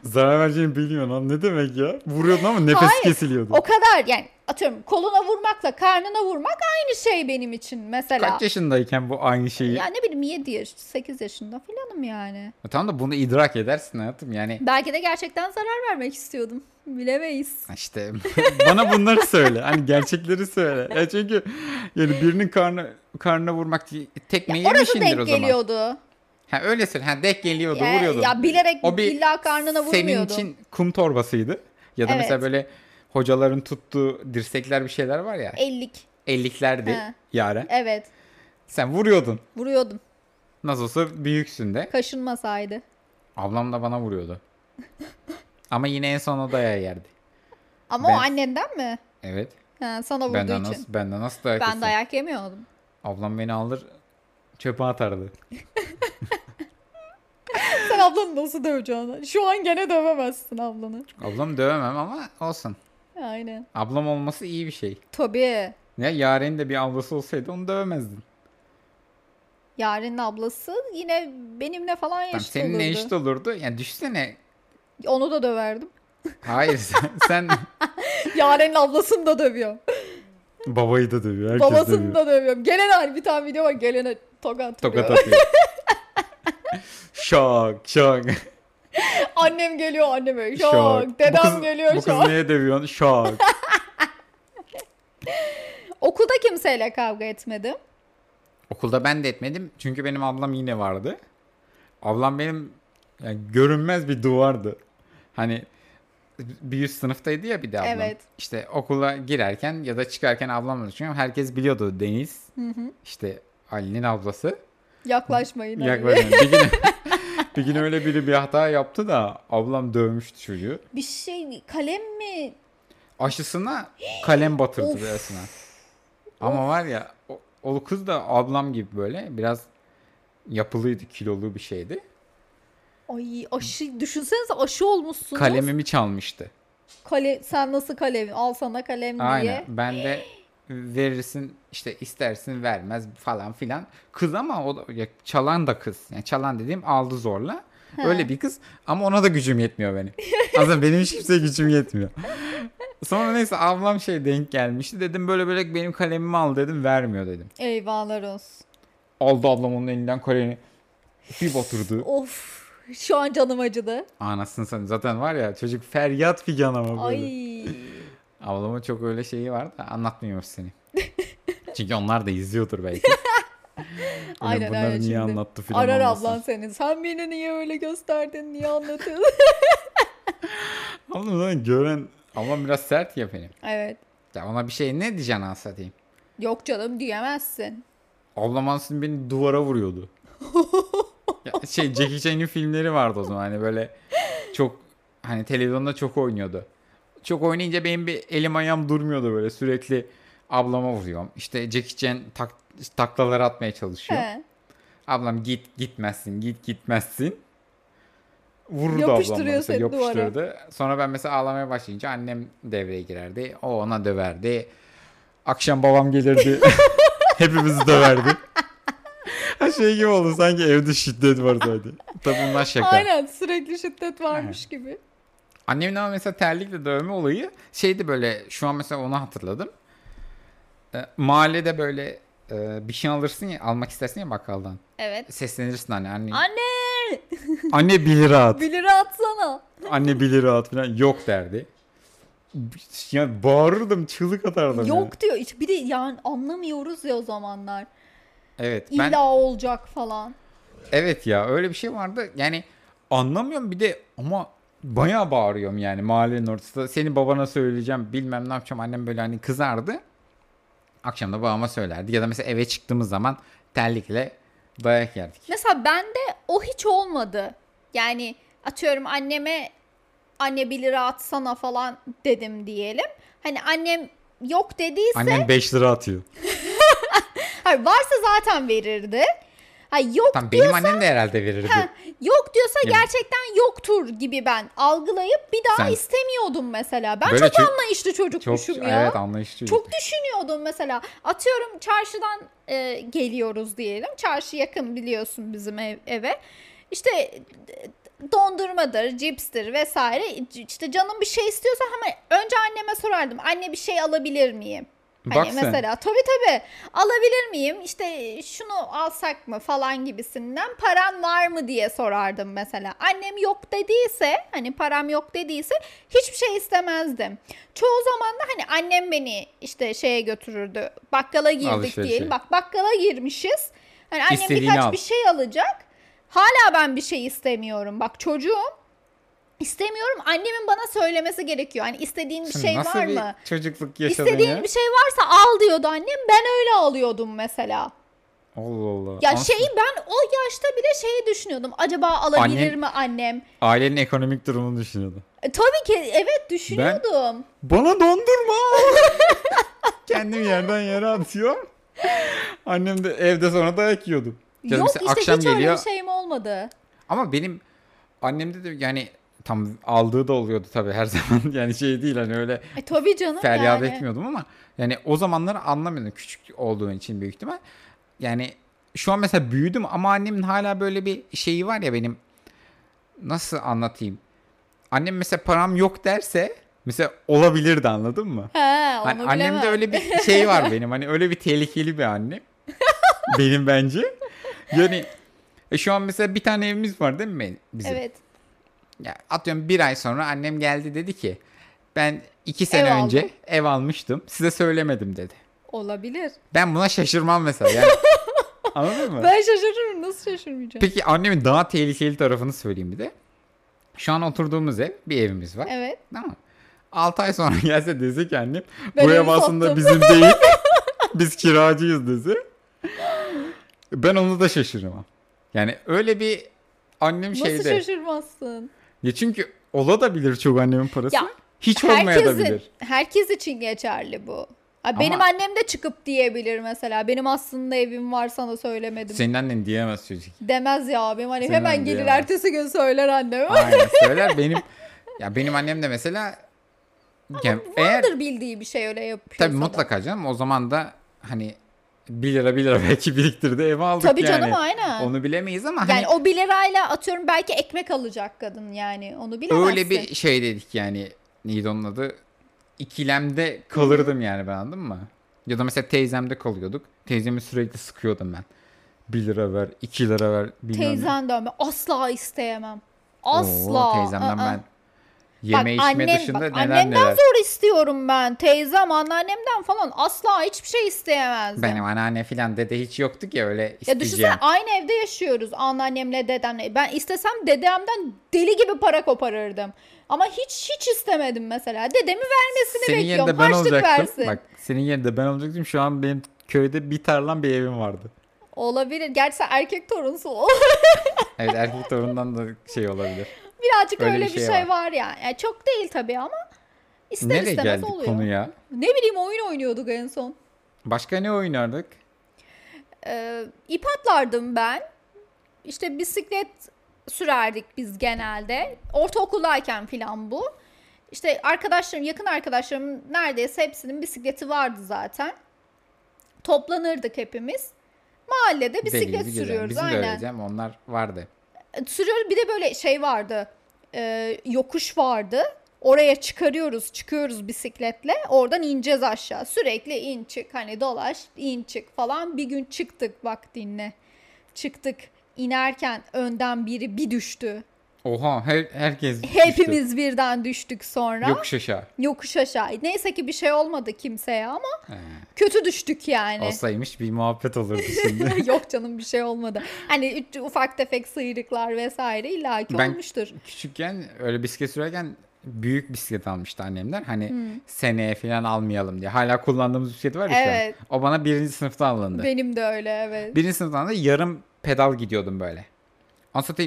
Speaker 2: Zarar vereceğini bilmiyorsun lan. Ne demek ya? Vuruyordun ama nefes kesiliyordu.
Speaker 1: o kadar yani atıyorum koluna vurmakla karnına vurmak aynı şey benim için mesela.
Speaker 2: Kaç yaşındayken bu aynı şeyi?
Speaker 1: ya ne bileyim 7 yaş 8 yaşında falanım yani.
Speaker 2: Tamam da bunu idrak edersin hayatım. Yani
Speaker 1: Belki de gerçekten zarar vermek istiyordum. Bilemeyiz.
Speaker 2: İşte *laughs* bana bunları söyle. Hani gerçekleri söyle. Ya çünkü yani birinin karnı karnına vurmak tekme
Speaker 1: Orası
Speaker 2: yemişindir o
Speaker 1: denk
Speaker 2: zaman.
Speaker 1: geliyordu.
Speaker 2: Ha öyle söyle. Ha denk geliyordu,
Speaker 1: Ya-
Speaker 2: vuruyordu.
Speaker 1: ya bilerek
Speaker 2: o bir
Speaker 1: illa karnına
Speaker 2: Senin
Speaker 1: vurmuyordu.
Speaker 2: için kum torbasıydı. Ya da
Speaker 1: Evet.
Speaker 2: mesela böyle hocaların tuttuğu dirsekler bir şeyler var ya.
Speaker 1: 50'lik.
Speaker 2: Elliklerdi
Speaker 1: He.
Speaker 2: yaren.
Speaker 1: Evet.
Speaker 2: Sen vuruyordun.
Speaker 1: Vuruyordum.
Speaker 2: Nasıl olsa büyüksün de.
Speaker 1: Kaşınmasaydı.
Speaker 2: Ablam da
Speaker 1: *laughs*
Speaker 2: bana vuruyordu. Ama yine en son o dayağı yerdi.
Speaker 1: Ama
Speaker 2: Ben-
Speaker 1: o annenden mi?
Speaker 2: Evet.
Speaker 1: Ha, sana vurduğu
Speaker 2: Benden
Speaker 1: için.
Speaker 2: nasıl, benden nasıl dayak
Speaker 1: Ben
Speaker 2: yesin?
Speaker 1: dayak yemiyordum.
Speaker 2: Ablam beni alır çöpe atardı.
Speaker 1: Sen ablanı nasıl döveceksin? Şu an gene dövemezsin ablanı.
Speaker 2: Ablam dövemem ama olsun.
Speaker 1: Ee, Aynen.
Speaker 2: Ablam olması iyi bir şey.
Speaker 1: Tabii.
Speaker 2: Ya Yaren'in de bir ablası olsaydı onu dövemezdin.
Speaker 1: Yaren'in ablası yine benimle falan
Speaker 2: Tamam,
Speaker 1: eşit
Speaker 2: seninle
Speaker 1: olurdu.
Speaker 2: eşit olurdu. Yani düşsene.
Speaker 1: Onu da döverdim. *laughs*
Speaker 2: Hayır sen, *laughs* sen
Speaker 1: Yaren'in ablasını da dövüyor.
Speaker 2: babayı da dövüyor. Herkes
Speaker 1: Babasını
Speaker 2: dövüyor.
Speaker 1: da dövüyorum. Gelen bir tane video var. Gelene tokat,
Speaker 2: Tokat
Speaker 1: vuruyor. *laughs*
Speaker 2: atıyor. şok şok.
Speaker 1: Annem geliyor anneme. Şok. Dedem
Speaker 2: Bu kız-
Speaker 1: geliyor
Speaker 2: Bu
Speaker 1: şok.
Speaker 2: kız niye dövüyorsun? Şok.
Speaker 1: Okulda kimseyle kavga etmedim.
Speaker 2: Okulda ben de etmedim. Çünkü benim ablam yine vardı. Ablam benim yani görünmez bir duvardı. Hani bir üst sınıftaydı ya bir de ablam.
Speaker 1: Evet.
Speaker 2: İşte okula girerken ya da çıkarken ablam vardı. Çünkü herkes biliyordu Deniz. İşte Ali'nin ablası.
Speaker 1: Yaklaşmayın. hani.
Speaker 2: Yaklaşık *laughs* bir gün, bir gün öyle biri bir hata yaptı da ablam dövmüştü çocuğu.
Speaker 1: Bir şey kalem mi?
Speaker 2: Aşısına kalem batırdı
Speaker 1: Of.
Speaker 2: birazına. Ama var ya o, o kız da ablam gibi böyle biraz yapılıydı, kilolu bir şeydi.
Speaker 1: Ay aşı düşünsenize aşı olmuşsunuz.
Speaker 2: Kalemimi çalmıştı.
Speaker 1: Kale, sen nasıl kalem? Al sana kalem diye.
Speaker 2: Aynen. Ben de verirsin işte istersin vermez falan filan. Kız ama o da, ya çalan da kız. Yani çalan dediğim aldı zorla. Öyle bir kız ama ona da gücüm yetmiyor benim. Aslında benim hiç kimseye gücüm yetmiyor. Sonra neyse ablam şey denk gelmişti. Dedim böyle böyle benim kalemimi al dedim vermiyor dedim.
Speaker 1: Eyvahlar olsun.
Speaker 2: Aldı ablam onun elinden kalemi. Bir batırdı.
Speaker 1: Of. Şu an canım acıdı.
Speaker 2: Anasını sen zaten var ya çocuk feryat figan ama böyle.
Speaker 1: Ay.
Speaker 2: Ablamın çok öyle şeyi var da
Speaker 1: *laughs*
Speaker 2: anlatmıyormuş seni. Çünkü onlar da izliyordur belki. Ulan
Speaker 1: Aynen,
Speaker 2: Bunları
Speaker 1: aynen
Speaker 2: niye
Speaker 1: şimdi.
Speaker 2: anlattı filan
Speaker 1: Arar
Speaker 2: olmasın.
Speaker 1: ablan seni. Sen beni niye öyle gösterdin? Niye
Speaker 2: *laughs*
Speaker 1: anlatıyorsun?
Speaker 2: Ablam zaten gören... Ablam biraz sert ya benim.
Speaker 1: evet.
Speaker 2: Ya ona bir şey ne diyeceksin anasını satayım.
Speaker 1: Yok canım diyemezsin.
Speaker 2: Ablam anasını beni duvara vuruyordu. ya şey Jackie Chan'in filmleri vardı o zaman hani böyle çok hani televizyonda çok oynuyordu. Çok oynayınca benim bir elim ayağım durmuyordu böyle sürekli ablama vuruyorum. İşte Jackie Chan tak, taklalar atmaya çalışıyor.
Speaker 1: He.
Speaker 2: Ablam git gitmezsin git gitmezsin. Vururdu
Speaker 1: Yapıştırıyor
Speaker 2: ablam mesela,
Speaker 1: seni duvara.
Speaker 2: yapıştırırdı. Sonra ben mesela ağlamaya başlayınca annem devreye girerdi. O ona döverdi. Akşam
Speaker 1: *laughs*
Speaker 2: babam gelirdi. Hepimizi döverdi. Ha, şey gibi oldu sanki evde şiddet var zaten. Tabii bunlar şaka.
Speaker 1: Aynen sürekli şiddet varmış gibi.
Speaker 2: Annemin ama mesela terlikle dövme olayı şeydi böyle şu an mesela onu hatırladım. E, mahallede böyle e, bir şey alırsın ya almak istersin ya bakkaldan.
Speaker 1: Evet.
Speaker 2: Seslenirsin anne. Anne,
Speaker 1: Anne!
Speaker 2: anne 1 lira at.
Speaker 1: 1 lira atsana.
Speaker 2: Anne 1 lira at falan yok derdi. Yani bağırırdım çığlık atardım. yani.
Speaker 1: Yok diyor. Hiç- Bir de yani anlamıyoruz ya o zamanlar.
Speaker 2: Evet
Speaker 1: İlla
Speaker 2: ben
Speaker 1: olacak falan.
Speaker 2: evet ya öyle bir şey vardı. Yani anlamıyorum bir de ama bayağı bağırıyorum yani mahallenin ortasında. Seni babana söyleyeceğim bilmem ne yapacağım. Annem böyle hani kızardı. Akşam da babama söylerdi. Ya da mesela eve çıktığımız zaman terlikle dayak yerdik.
Speaker 1: Mesela bende o hiç olmadı. Yani atıyorum anneme anne 1 lira atsana falan dedim diyelim. Hani annem yok dediyse
Speaker 2: Annem 5 lira atıyor.
Speaker 1: hayır, varsa zaten verirdi. Hayır, yok
Speaker 2: Tam benim annem de herhalde verirdi.
Speaker 1: Ha, yok diyorsa
Speaker 2: Yani-
Speaker 1: gerçekten yoktur gibi ben algılayıp bir daha
Speaker 2: Sen-
Speaker 1: istemiyordum mesela. Ben
Speaker 2: Böyle
Speaker 1: çok
Speaker 2: çö-
Speaker 1: anlayışlı
Speaker 2: Çok
Speaker 1: çocukmuşum ya.
Speaker 2: evet anlayışlıydı.
Speaker 1: Çok düşünüyordum mesela. Atıyorum çarşıdan e, geliyoruz diyelim. Çarşı yakın biliyorsun bizim ev- eve. İşte e, dondurmadır, cipstir vesaire. C- İşte canım bir şey istiyorsa hemen önce anneme sorardım. Anne bir şey alabilir miyim? Hani
Speaker 2: Bak sen.
Speaker 1: mesela tabii tabii alabilir miyim işte şunu alsak mı falan gibisinden paran var mı diye sorardım mesela. Annem yok dediyse hani param yok dediyse hiçbir şey istemezdim. Çoğu zaman da hani annem beni işte şeye götürürdü bakkala girdik
Speaker 2: Alışverişe.
Speaker 1: diyelim bak bakkala girmişiz. Hani annem
Speaker 2: İstediğini
Speaker 1: birkaç
Speaker 2: al.
Speaker 1: bir şey alacak hala ben bir şey istemiyorum bak çocuğum. istemiyorum Annemin bana söylemesi gerekiyor. Hani istediğin bir
Speaker 2: Sen
Speaker 1: şey
Speaker 2: nasıl
Speaker 1: var
Speaker 2: bir
Speaker 1: mı?
Speaker 2: çocukluk yaşadın
Speaker 1: İstediğin
Speaker 2: ya?
Speaker 1: bir şey varsa al diyordu annem. Ben öyle alıyordum mesela.
Speaker 2: Allah Allah.
Speaker 1: Ya şey-
Speaker 2: Aslında
Speaker 1: şeyi ben o yaşta bile şeyi düşünüyordum. Acaba alabilir
Speaker 2: Annem-
Speaker 1: mi annem?
Speaker 2: Ailenin ekonomik durumunu düşünüyordu.
Speaker 1: E, tabii ki evet düşünüyordum.
Speaker 2: Bana dondurma. *laughs* Kendim yerden yere atıyorum. Annem de evde sonra dayak yiyordum. Ya
Speaker 1: Yok
Speaker 2: mesela
Speaker 1: şey- işte hiç öyle bir şeyim olmadı.
Speaker 2: Ama benim annemde de yani tam aldığı da oluyordu tabii her *laughs* zaman yani şey değil hani öyle
Speaker 1: E tabii canım
Speaker 2: feryat
Speaker 1: yani.
Speaker 2: etmiyordum ama yani o zamanları anlamıyordum küçük olduğun için büyük ihtimal. Yani şu an mesela büyüdüm ama annemin hala böyle bir şeyi var ya benim nasıl anlatayım? Annem mesela param yok derse mesela olabilirdi anladın mı?
Speaker 1: He, onu
Speaker 2: Hani annemde
Speaker 1: bilemem.
Speaker 2: öyle bir şey var benim. Hani öyle bir tehlikeli
Speaker 1: *laughs*
Speaker 2: bir annem. benim bence. Yani e, şu an mesela bir tane evimiz var değil mi bizim?
Speaker 1: Evet.
Speaker 2: Ya atıyorum bir ay sonra annem geldi dedi ki ben iki sene
Speaker 1: Ev
Speaker 2: önce
Speaker 1: aldım.
Speaker 2: ev almıştım size söylemedim dedi.
Speaker 1: Olabilir.
Speaker 2: Ben buna şaşırmam mesela yani.
Speaker 1: *laughs*
Speaker 2: Anladın mı?
Speaker 1: Ben şaşırırım. Nasıl şaşırmayacağım?
Speaker 2: Peki annemin daha tehlikeli tarafını söyleyeyim bir de. Şu an oturduğumuz ev bir evimiz var.
Speaker 1: Evet.
Speaker 2: Tamam mı? 6 ay sonra *laughs* gelse dese ki annem
Speaker 1: Ben
Speaker 2: bu ev
Speaker 1: evi
Speaker 2: aslında
Speaker 1: sattım."
Speaker 2: bizim
Speaker 1: *laughs*
Speaker 2: değil. Biz kiracıyız dese. Ben onu da şaşırmam. Yani öyle bir annem
Speaker 1: Nasıl
Speaker 2: şeyde.
Speaker 1: şaşırmazsın?
Speaker 2: Ya çünkü ola da bilir çok annemin parası.
Speaker 1: Ya,
Speaker 2: Hiç olmaya da
Speaker 1: Herkesin,
Speaker 2: bilir.
Speaker 1: herkes için geçerli bu. Ha, benim
Speaker 2: Ama-
Speaker 1: annem de çıkıp diyebilir mesela. Benim aslında evim var sana söylemedim.
Speaker 2: Senin annen
Speaker 1: *laughs*
Speaker 2: diyemez çocuk.
Speaker 1: Demez ya benim annem
Speaker 2: Senin
Speaker 1: hemen
Speaker 2: annen
Speaker 1: gelir
Speaker 2: diyemez.
Speaker 1: ertesi gün söyler anneme.
Speaker 2: Aynen söyler benim. Ya benim annem de mesela yani eğer
Speaker 1: Vardır bildiği bir şey öyle yapıyor.
Speaker 2: tabii mutlaka canım o zaman da hani 1 lira 1 lira belki biriktirdi eve aldık
Speaker 1: Tabii
Speaker 2: yani.
Speaker 1: canım, aynen.
Speaker 2: Onu bilemeyiz ama
Speaker 1: Yani
Speaker 2: hani
Speaker 1: o 1 lirayla atıyorum belki ekmek alacak kadın yani. Onu bilemezsin.
Speaker 2: öyle bir şey dedik yani neydi onun adı ikilemde kalırdım yani ben anladın mı? Ya da mesela teyzemde kalıyorduk. Teyzemi sürekli sıkıyordum ben. 1 lira ver, 2 lira ver. bilmem ne.
Speaker 1: Teyzen dönme. Asla isteyemem.
Speaker 2: Oo,
Speaker 1: Asla.
Speaker 2: teyzemden
Speaker 1: Aa.
Speaker 2: ben yeme
Speaker 1: bak,
Speaker 2: içme
Speaker 1: annem-
Speaker 2: dışında
Speaker 1: bak,
Speaker 2: neler
Speaker 1: annemden
Speaker 2: neler.
Speaker 1: zor istiyorum ben. Teyzem, anneannemden falan asla hiçbir şey isteyemezdim.
Speaker 2: Benim anneanne filan dede hiç yoktuk ya öyle
Speaker 1: Ya düşünsene
Speaker 2: isteyeceğim.
Speaker 1: aynı evde yaşıyoruz anneannemle dedemle. Ben istesem dedemden deli gibi para koparırdım. Ama hiç hiç istemedim mesela. Dedemi vermesini
Speaker 2: senin
Speaker 1: bekliyorum.
Speaker 2: yerinde ben
Speaker 1: Harçlık
Speaker 2: olacaktım.
Speaker 1: versin.
Speaker 2: Bak senin yerinde ben olacaktım. Şu an benim köyde bir tarlam bir evim vardı.
Speaker 1: Olabilir. Gerçi sen erkek torunsun. *laughs*
Speaker 2: Evet erkek torundan da şey olabilir.
Speaker 1: Birazcık
Speaker 2: Öyle
Speaker 1: öyle,
Speaker 2: bir
Speaker 1: bir
Speaker 2: şey
Speaker 1: şey,
Speaker 2: var.
Speaker 1: var. yani. Yani Çok değil tabii ama ister
Speaker 2: Nereye
Speaker 1: istemez
Speaker 2: geldik
Speaker 1: oluyor.
Speaker 2: konuya?
Speaker 1: Ne bileyim oyun oynuyorduk en son.
Speaker 2: Başka ne oynardık?
Speaker 1: Ee, ip atlardım ben. İşte bisiklet sürerdik biz genelde. Ortaokuldayken filan bu. İşte arkadaşlarım, yakın arkadaşlarımın neredeyse hepsinin bisikleti vardı zaten. Toplanırdık hepimiz. Mahallede
Speaker 2: Deli gibi
Speaker 1: bisiklet
Speaker 2: gezen.
Speaker 1: sürüyoruz
Speaker 2: Bizim de öyle
Speaker 1: aynen.
Speaker 2: canım, onlar vardı.
Speaker 1: Sürüyoruz bir de böyle şey vardı. e, yokuş vardı. Oraya çıkarıyoruz, çıkıyoruz bisikletle. Oradan ineceğiz aşağı. Sürekli in çık hani dolaş, in çık falan. Bir gün çıktık bak dinle. Çıktık. inerken önden biri bir düştü.
Speaker 2: Oha her, herkes düştü.
Speaker 1: Hepimiz birden düştük sonra.
Speaker 2: Yokuş aşağı.
Speaker 1: Yokuş aşağı. Neyse ki bir şey olmadı kimseye ama
Speaker 2: Ee,
Speaker 1: kötü düştük yani.
Speaker 2: Olsaymış bir muhabbet olurdu
Speaker 1: *laughs*
Speaker 2: şimdi.
Speaker 1: Yok canım bir şey olmadı. Hani üç- ufak tefek sıyrıklar vesaire illaki
Speaker 2: Ben-
Speaker 1: olmuştur.
Speaker 2: Küçükken öyle bisiklet sürerken büyük bisiklet almıştı annemler. Hani
Speaker 1: Hı.
Speaker 2: seneye falan almayalım diye. Hala kullandığımız bisiklet var ya şu an.
Speaker 1: Evet.
Speaker 2: O bana birinci sınıfta alındı.
Speaker 1: Benim de öyle evet.
Speaker 2: Birinci sınıftan da yarım pedal gidiyordum böyle. Ondan sonra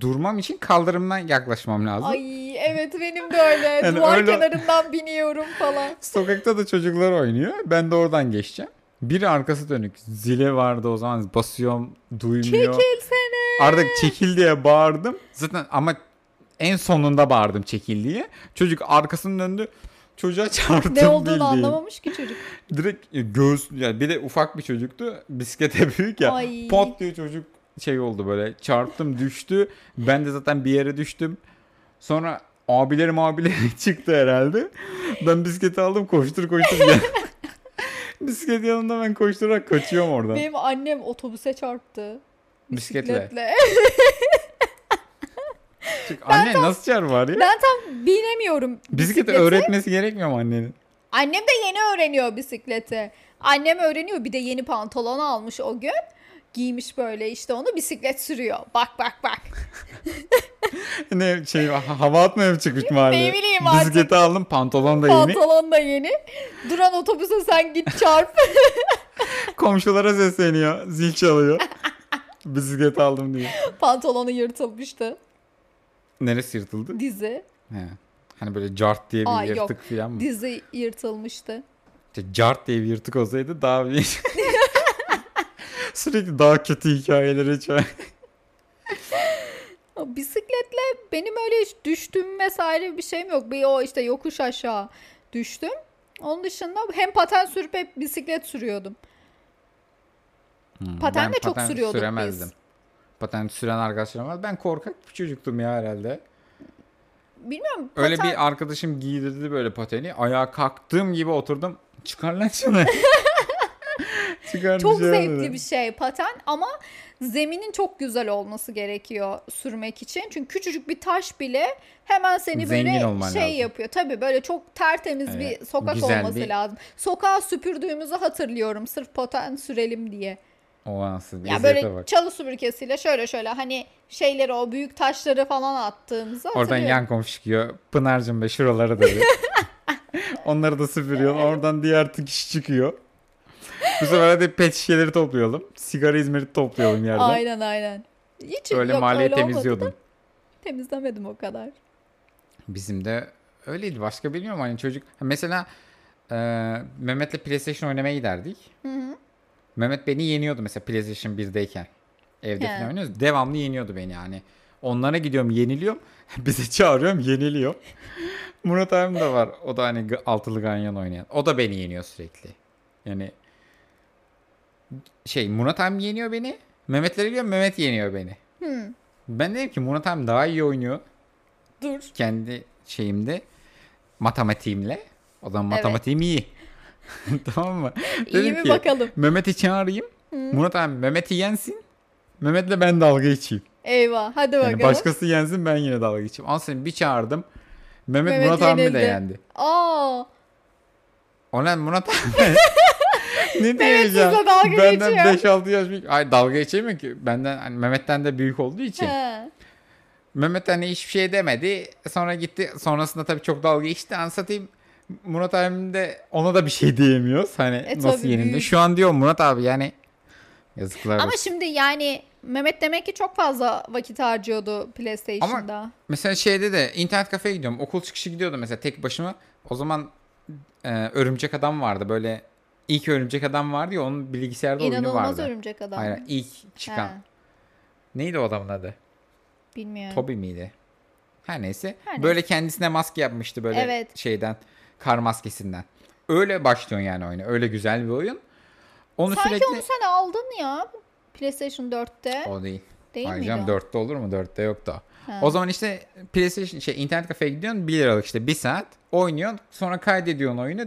Speaker 2: durmam için kaldırımdan yaklaşmam lazım.
Speaker 1: Ay evet benim de öyle.
Speaker 2: *laughs* Yani
Speaker 1: Duvar
Speaker 2: öyle-
Speaker 1: kenarından biniyorum
Speaker 2: *laughs*
Speaker 1: falan.
Speaker 2: Sokakta da çocuklar oynuyor. Ben de oradan geçeceğim. Biri arkası dönük. Zile vardı o zaman. Basıyorum duymuyor. *laughs*
Speaker 1: Çekilsene.
Speaker 2: Artık çekil diye bağırdım. Zaten ama en sonunda bağırdım çekil diye. Çocuk arkasını döndü. Çocuğa çarptım
Speaker 1: Ne olduğunu
Speaker 2: bildiğin.
Speaker 1: anlamamış ki çocuk.
Speaker 2: Direkt e, göğüs yani bir de ufak bir çocuktu. Bisiklete *laughs* büyük ya.
Speaker 1: Ay.
Speaker 2: Pot diye çocuk şey oldu böyle. Çarptım düştü. Ben de zaten bir yere düştüm. Sonra abilerim *laughs* abileri çıktı herhalde. Ben bisikleti aldım koştur
Speaker 1: *laughs*
Speaker 2: koştur gel. Bisiklet yanımda ben koşturarak kaçıyorum oradan.
Speaker 1: Benim annem otobüse çarptı.
Speaker 2: Bisikletle.
Speaker 1: Bisikletle. *laughs*
Speaker 2: Çünkü anne nasıl çarpar ya?
Speaker 1: ben tam binemiyorum
Speaker 2: Bisikleti
Speaker 1: bisiklete.
Speaker 2: öğretmesi gerekmiyor mu annenin?
Speaker 1: Annem de yeni öğreniyor bisikleti. Annem öğreniyor bir de yeni pantolon almış o gün. Giymiş böyle işte onu bisiklet sürüyor. Bak bak bak.
Speaker 2: Ne şey ha- hava atmaya mı çıkmış mahalleye?
Speaker 1: Ne bileyim artık.
Speaker 2: Bisikleti aldım pantolon da yeni.
Speaker 1: Pantolon da yeni. Duran otobüse sen git çarp. *laughs*
Speaker 2: Komşulara sesleniyor.
Speaker 1: *laughs*
Speaker 2: Zil çalıyor. Bisiklet aldım diye.
Speaker 1: Pantolonu yırtılmıştı.
Speaker 2: Neresi yırtıldı?
Speaker 1: Dizi.
Speaker 2: He. Hani böyle cart diye bir
Speaker 1: Aa, yok.
Speaker 2: yırtık falan mı?
Speaker 1: Dizi yırtılmıştı.
Speaker 2: İşte cart diye bir yırtık olsaydı daha bir... *laughs* Sürekli daha kötü hikayelere çağır.
Speaker 1: Bisikletle Benim öyle hiç düştüm vesaire bir şeyim yok. Bir o işte yokuş aşağı düştüm. Onun dışında hem paten sürüp hep bisiklet sürüyordum.
Speaker 2: Hmm,
Speaker 1: Paten
Speaker 2: ben
Speaker 1: de çok
Speaker 2: paten
Speaker 1: sürüyorduk biz.
Speaker 2: süremezdim. Paten süren arkadaşlarım vardı. Ben korkak bir çocuktum ya herhalde.
Speaker 1: Bilmiyorum
Speaker 2: Öyle
Speaker 1: paten-
Speaker 2: bir arkadaşım giydirdi böyle pateni. Ayağa kalktığım gibi oturdum. Çıkar
Speaker 1: *laughs*
Speaker 2: lan şunu. Çıkar
Speaker 1: Çok
Speaker 2: dışarı
Speaker 1: zevkli
Speaker 2: dedim.
Speaker 1: bir şey paten ama zeminin çok güzel olması gerekiyor sürmek için. Çünkü küçücük bir taş bile hemen seni
Speaker 2: Zengin
Speaker 1: böyle
Speaker 2: olman
Speaker 1: şey
Speaker 2: lazım.
Speaker 1: yapıyor. Tabii böyle çok tertemiz
Speaker 2: Evet,
Speaker 1: bir sokak
Speaker 2: güzel
Speaker 1: olması
Speaker 2: bir-
Speaker 1: lazım. Sokağa süpürdüğümüzü hatırlıyorum sırf paten sürelim diye.
Speaker 2: O anasını.
Speaker 1: Ya
Speaker 2: eziyete
Speaker 1: böyle
Speaker 2: bak.
Speaker 1: çalı süpürgesiyle şöyle şöyle hani şeyleri o büyük taşları falan attığımızı
Speaker 2: Oradan
Speaker 1: hatırlıyorum.
Speaker 2: yan komşu çıkıyor. Pınar'cığım be şuraları
Speaker 1: *laughs*
Speaker 2: da bir. Onları da süpürüyor. Oradan diğer kişi çıkıyor. Bu sefer de pet şişeleri toplayalım. Sigara İzmir'i toplayalım yerden.
Speaker 1: Aynen aynen. Hiç
Speaker 2: Öyle
Speaker 1: şey yok,
Speaker 2: mahalleyi
Speaker 1: öyle olmadı da
Speaker 2: temizliyordum.
Speaker 1: Temizlemedim o kadar.
Speaker 2: Bizim de öyleydi. Başka bilmiyorum hani çocuk. Ha, Mesela e, Mehmet'le PlayStation oynamaya giderdik.
Speaker 1: Hı hı.
Speaker 2: Mehmet beni yeniyordu mesela PlayStation 1'deyken. Evde
Speaker 1: He.
Speaker 2: falan oynuyoruz. Devamlı yeniyordu beni yani. Onlara gidiyorum yeniliyorum. *laughs* Bize çağırıyorum yeniliyorum. *laughs* Murat abim de var. O da hani g- altılı ganyan oynayan. O da beni yeniyor sürekli. Yani şey Murat abim yeniyor beni. Mehmet'lere gidiyorum Mehmet yeniyor beni.
Speaker 1: Hı.
Speaker 2: Ben dedim ki Murat abim daha iyi oynuyor
Speaker 1: Dur.
Speaker 2: kendi şeyimde matematiğimle. O zaman
Speaker 1: Evet.
Speaker 2: matematiğim iyi. *laughs* tamam mı?
Speaker 1: İyi
Speaker 2: Dedim
Speaker 1: mi
Speaker 2: ki,
Speaker 1: bakalım.
Speaker 2: Mehmet'i çağırayım. Murat abi Mehmet'i yensin. Mehmet'le ben dalga geçeyim.
Speaker 1: Eyvah. Hadi bakalım.
Speaker 2: Yani başkası yensin ben yine dalga geçeyim. Aslında bir çağırdım. Mehmet,
Speaker 1: Mehmet
Speaker 2: Murat abi de
Speaker 1: yenildi.
Speaker 2: yendi.
Speaker 1: Aa. *laughs*
Speaker 2: Ulan Murat abi. ne diyeceğim?
Speaker 1: sizle dalga
Speaker 2: Benden
Speaker 1: geçiyor.
Speaker 2: 5-6 yaş büyük. Ay dalga geçemiyor ki. Benden hani Mehmet'ten de büyük olduğu için.
Speaker 1: He.
Speaker 2: Mehmet hani hiçbir şey demedi. Sonra gitti. Sonrasında tabii çok dalga geçti. Anlatayım. Murat abim de ona da bir şey diyemiyoruz. Hani
Speaker 1: E
Speaker 2: nasıl
Speaker 1: tabii,
Speaker 2: yenildi?
Speaker 1: büyük.
Speaker 2: Şu an diyor Murat abi yani yazıklar olsun.
Speaker 1: Ama şimdi yani Mehmet demek ki çok fazla vakit harcıyordu PlayStation'da.
Speaker 2: Mesela şeyde de internet kafeye gidiyorum. Okul çıkışı gidiyordum mesela tek başıma. O zaman e, örümcek adam vardı. Böyle ilk örümcek adam vardı ya onun bilgisayarda oyunu
Speaker 1: İnanılmaz
Speaker 2: vardı.
Speaker 1: örümcek adam.
Speaker 2: Hayır ilk çıkan.
Speaker 1: He,
Speaker 2: Neydi o adamın adı?
Speaker 1: Bilmiyorum.
Speaker 2: Toby miydi? Her neyse.
Speaker 1: Her neyse.
Speaker 2: Böyle kendisine maske yapmıştı böyle
Speaker 1: Evet.
Speaker 2: şeyden. Kar maskesinden. Öyle başlıyorsun yani oyuna. Öyle güzel bir oyun. Onu
Speaker 1: Sanki
Speaker 2: sürekli...
Speaker 1: onu sen aldın ya PlayStation 4'te.
Speaker 2: O değil.
Speaker 1: Değil
Speaker 2: Hayır
Speaker 1: miydi
Speaker 2: canım
Speaker 1: o?
Speaker 2: 4'te olur mu? 4'te yok da.
Speaker 1: Ha.
Speaker 2: O zaman işte PlayStation şey internet kafeye gidiyorsun 1 liralık işte 1 saat oynuyorsun sonra kaydediyorsun oyunu.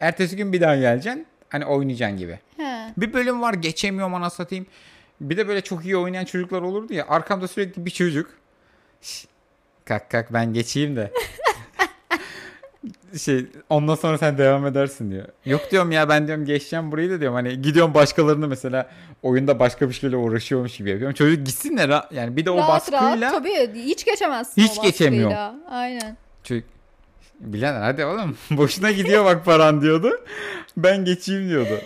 Speaker 2: Ertesi gün bir daha geleceksin. Hani oynayacaksın gibi.
Speaker 1: He.
Speaker 2: Bir bölüm var geçemiyorum ana satayım. Bir de böyle çok iyi oynayan çocuklar olurdu ya. Arkamda sürekli bir çocuk. "Şş, Kalk kalk ben
Speaker 1: *laughs*
Speaker 2: geçeyim de. şey ondan sonra sen devam edersin diyor. Yok diyorum ya ben diyorum geçeceğim burayı da diyorum. Hani gidiyorum başkalarını mesela oyunda başka bir şeyle uğraşıyormuş gibi yapıyorum. Çocuk gitsin de ra- yani bir de o
Speaker 1: rahat
Speaker 2: baskıyla.
Speaker 1: rahat tabii hiç geçemezsin
Speaker 2: Hiç
Speaker 1: o
Speaker 2: geçemiyorum.
Speaker 1: baskıyla. Aynen.
Speaker 2: Çocuk Bilader hadi oğlum *laughs* boşuna gidiyor bak paran diyordu. Ben geçeyim diyordu.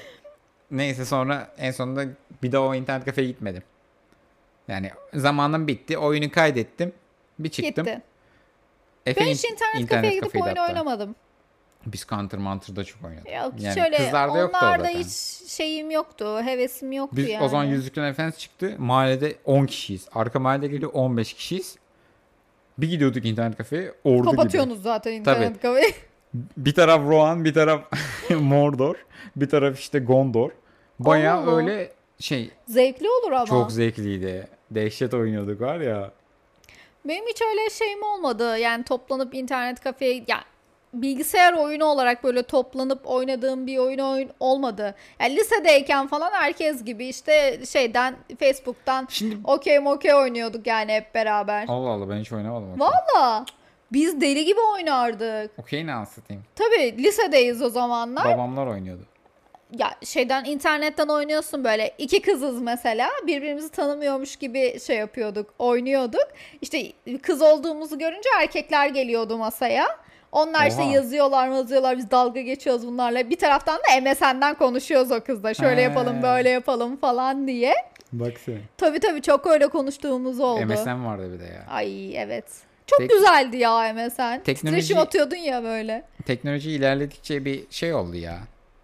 Speaker 2: Neyse sonra en sonunda bir daha o internet kafeye gitmedim. Yani zamanım bitti. Oyunu kaydettim. Bir çıktım.
Speaker 1: Gitti.
Speaker 2: Efe
Speaker 1: Ben
Speaker 2: in-
Speaker 1: hiç internet, kafeye gidip
Speaker 2: kafeydi
Speaker 1: oyun
Speaker 2: hatta.
Speaker 1: oynamadım.
Speaker 2: Biz Counter Mantır'da çok oynadık.
Speaker 1: Yok
Speaker 2: Yani
Speaker 1: şöyle
Speaker 2: kızlarda yoktu o
Speaker 1: onlarda
Speaker 2: zaten.
Speaker 1: hiç şeyim yoktu. Hevesim yoktu
Speaker 2: Biz
Speaker 1: yani.
Speaker 2: o zaman Yüzüklerin Efendisi çıktı. Mahallede 10 kişiyiz. Arka mahallede geliyor 15 kişiyiz. Bir gidiyorduk internet kafeye. Ordu gibi.
Speaker 1: Kapatıyorsunuz zaten internet kafeyi. *laughs*
Speaker 2: Bir taraf Rohan, bir taraf *laughs* Mordor, bir taraf işte Gondor. Baya
Speaker 1: Oo.
Speaker 2: öyle şey
Speaker 1: Zevkli olur ama.
Speaker 2: çok zevkliydi. Dehşet oynuyorduk var ya.
Speaker 1: Benim hiç öyle şeyim olmadı. Yani toplanıp internet kafeye ya bilgisayar oyunu olarak böyle toplanıp oynadığım bir oyun oyun olmadı. Yani lisedeyken falan herkes gibi işte şeyden Facebook'tan
Speaker 2: Şimdi
Speaker 1: okey mokey oynuyorduk yani hep beraber.
Speaker 2: Allah Allah ben hiç oynamadım. okey.
Speaker 1: Valla biz deli gibi oynardık.
Speaker 2: Okey ne anlatayım.
Speaker 1: Tabii lisedeyiz o zamanlar.
Speaker 2: Babamlar oynuyordu.
Speaker 1: Ya şeyden internetten oynuyorsun böyle iki kızız mesela birbirimizi tanımıyormuş gibi şey yapıyorduk oynuyorduk. İşte kız olduğumuzu görünce erkekler geliyordu masaya. Onlar işte
Speaker 2: Oha.
Speaker 1: yazıyorlar yazıyorlar biz dalga geçiyoruz bunlarla. Bir taraftan da MSN'den konuşuyoruz o kızla şöyle
Speaker 2: He.
Speaker 1: yapalım böyle yapalım falan diye.
Speaker 2: Bak sen.
Speaker 1: Tabii tabii çok öyle konuştuğumuz oldu.
Speaker 2: MSN vardı bir de ya.
Speaker 1: Ay evet. Çok
Speaker 2: Tek-
Speaker 1: güzeldi ya MSN.
Speaker 2: Teknoloji-
Speaker 1: Titreşim atıyordun ya böyle.
Speaker 2: Teknoloji ilerledikçe bir şey oldu ya.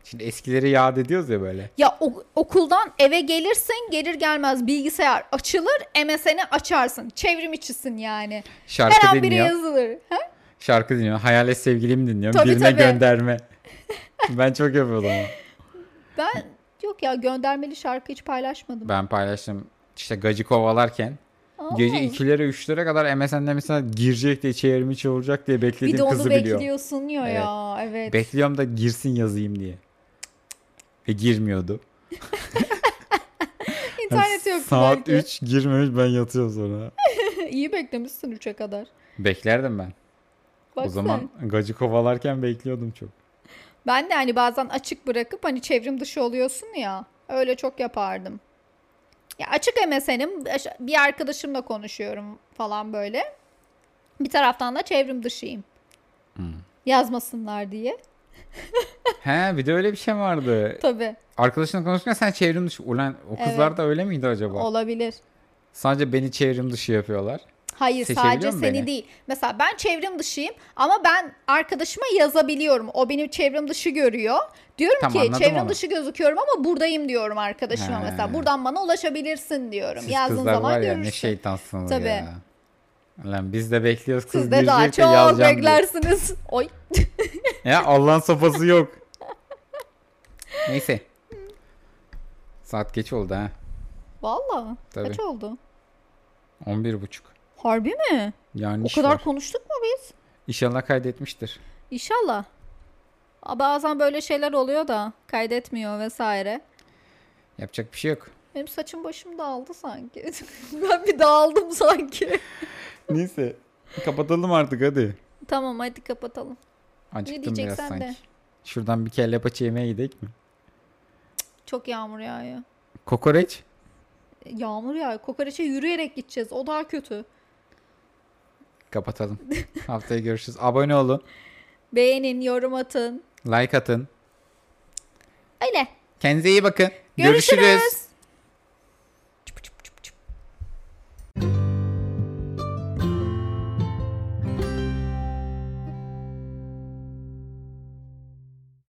Speaker 2: Şimdi eskileri yad ediyoruz ya böyle.
Speaker 1: Ya o- okuldan eve gelirsin gelir gelmez bilgisayar açılır MSN'i açarsın. Çevrim içisin yani.
Speaker 2: Şarkı
Speaker 1: Her an biri
Speaker 2: dinliyor.
Speaker 1: yazılır. Ha?
Speaker 2: Şarkı dinliyor. Hayalet sevgilim dinliyorum.
Speaker 1: Tabii,
Speaker 2: Birine
Speaker 1: tabii. *laughs*
Speaker 2: gönderme. ben çok yapıyordum onu.
Speaker 1: Ben yok ya göndermeli şarkı hiç paylaşmadım.
Speaker 2: Ben paylaştım. İşte gacı kovalarken
Speaker 1: Aa.
Speaker 2: gece 2'lere 3'lere kadar MSN'de mesela girecek diye çevirimi çavuracak diye
Speaker 1: bir de
Speaker 2: beklediğim
Speaker 1: onu
Speaker 2: kızı biliyorum.
Speaker 1: bekliyorsun ya
Speaker 2: Evet.
Speaker 1: ya. Evet.
Speaker 2: Bekliyorum da girsin yazayım diye. Ve girmiyordu. Hani
Speaker 1: İnternet yok
Speaker 2: Saat
Speaker 1: belki.
Speaker 2: 3 girmemiş ben yatıyorum sonra.
Speaker 1: *laughs* İyi beklemişsin 3'e kadar.
Speaker 2: Beklerdim ben.
Speaker 1: Bak
Speaker 2: O zaman gacı kovalarken bekliyordum çok.
Speaker 1: Ben de hani bazen açık bırakıp hani çevrim dışı oluyorsun ya. Öyle çok yapardım. Ya açık MSN'im bir arkadaşımla konuşuyorum falan böyle. Bir taraftan da çevrim dışıyım.
Speaker 2: Hmm.
Speaker 1: Yazmasınlar diye.
Speaker 2: He bir de öyle bir şey vardı.
Speaker 1: Tabii
Speaker 2: Arkadaşınla konuşurken sen çevrim dışı. Ulan o kızlar da öyle miydi acaba?
Speaker 1: olabilir.
Speaker 2: Sadece beni çevrim dışı yapıyorlar.
Speaker 1: Hayır
Speaker 2: Seçebiliyor
Speaker 1: sadece
Speaker 2: mu
Speaker 1: seni
Speaker 2: beni?
Speaker 1: değil. Mesela ben çevrim dışıyım ama ben arkadaşıma yazabiliyorum. O benim çevrim dışı görüyor. Diyorum
Speaker 2: Tamam,
Speaker 1: ki
Speaker 2: anladım
Speaker 1: çevrim
Speaker 2: onu.
Speaker 1: dışı gözüküyorum ama buradayım diyorum arkadaşıma
Speaker 2: He.
Speaker 1: mesela. Buradan bana ulaşabilirsin diyorum.
Speaker 2: Siz
Speaker 1: Yazdığın
Speaker 2: kızlar
Speaker 1: zaman
Speaker 2: var ya ne
Speaker 1: görürsün.
Speaker 2: şeytansınız
Speaker 1: Tabii.
Speaker 2: ya. Lan biz de bekliyoruz kız
Speaker 1: Siz de daha
Speaker 2: girecek de
Speaker 1: çok
Speaker 2: yazacağım diye.
Speaker 1: beklersiniz. *laughs* Oy.
Speaker 2: Ya Allah'ın sopası yok. Neyse. Saat geç oldu ha.
Speaker 1: Valla.
Speaker 2: Tabii.
Speaker 1: Kaç oldu?
Speaker 2: 11.30.
Speaker 1: Harbi mi?
Speaker 2: Yani
Speaker 1: O
Speaker 2: iş
Speaker 1: kadar
Speaker 2: var.
Speaker 1: konuştuk mu biz?
Speaker 2: İnşallah kaydetmiştir.
Speaker 1: İnşallah. Aa, Bazen böyle şeyler oluyor da kaydetmiyor vesaire.
Speaker 2: Yapacak bir şey yok.
Speaker 1: Benim saçım başım dağıldı sanki. *laughs* ben bir dağıldım sanki. *laughs*
Speaker 2: Neyse. Kapatalım artık hadi.
Speaker 1: tamam hadi kapatalım.
Speaker 2: Acıktım biraz
Speaker 1: diyeceksen
Speaker 2: sanki.
Speaker 1: de.
Speaker 2: Şuradan bir kelle paça yemeğe gidelim mi?
Speaker 1: Çok yağmur yağıyor. E,
Speaker 2: Kokoreç?
Speaker 1: Yağmur yağıyor. Kokoreçe yürüyerek gideceğiz. O daha kötü. *laughs*
Speaker 2: Kapatalım. Haftaya görüşürüz. Abone olun.
Speaker 1: Beğenin, yorum atın.
Speaker 2: Like atın.
Speaker 1: Öyle.
Speaker 2: Kendinize iyi bakın.
Speaker 1: Görüşürüz.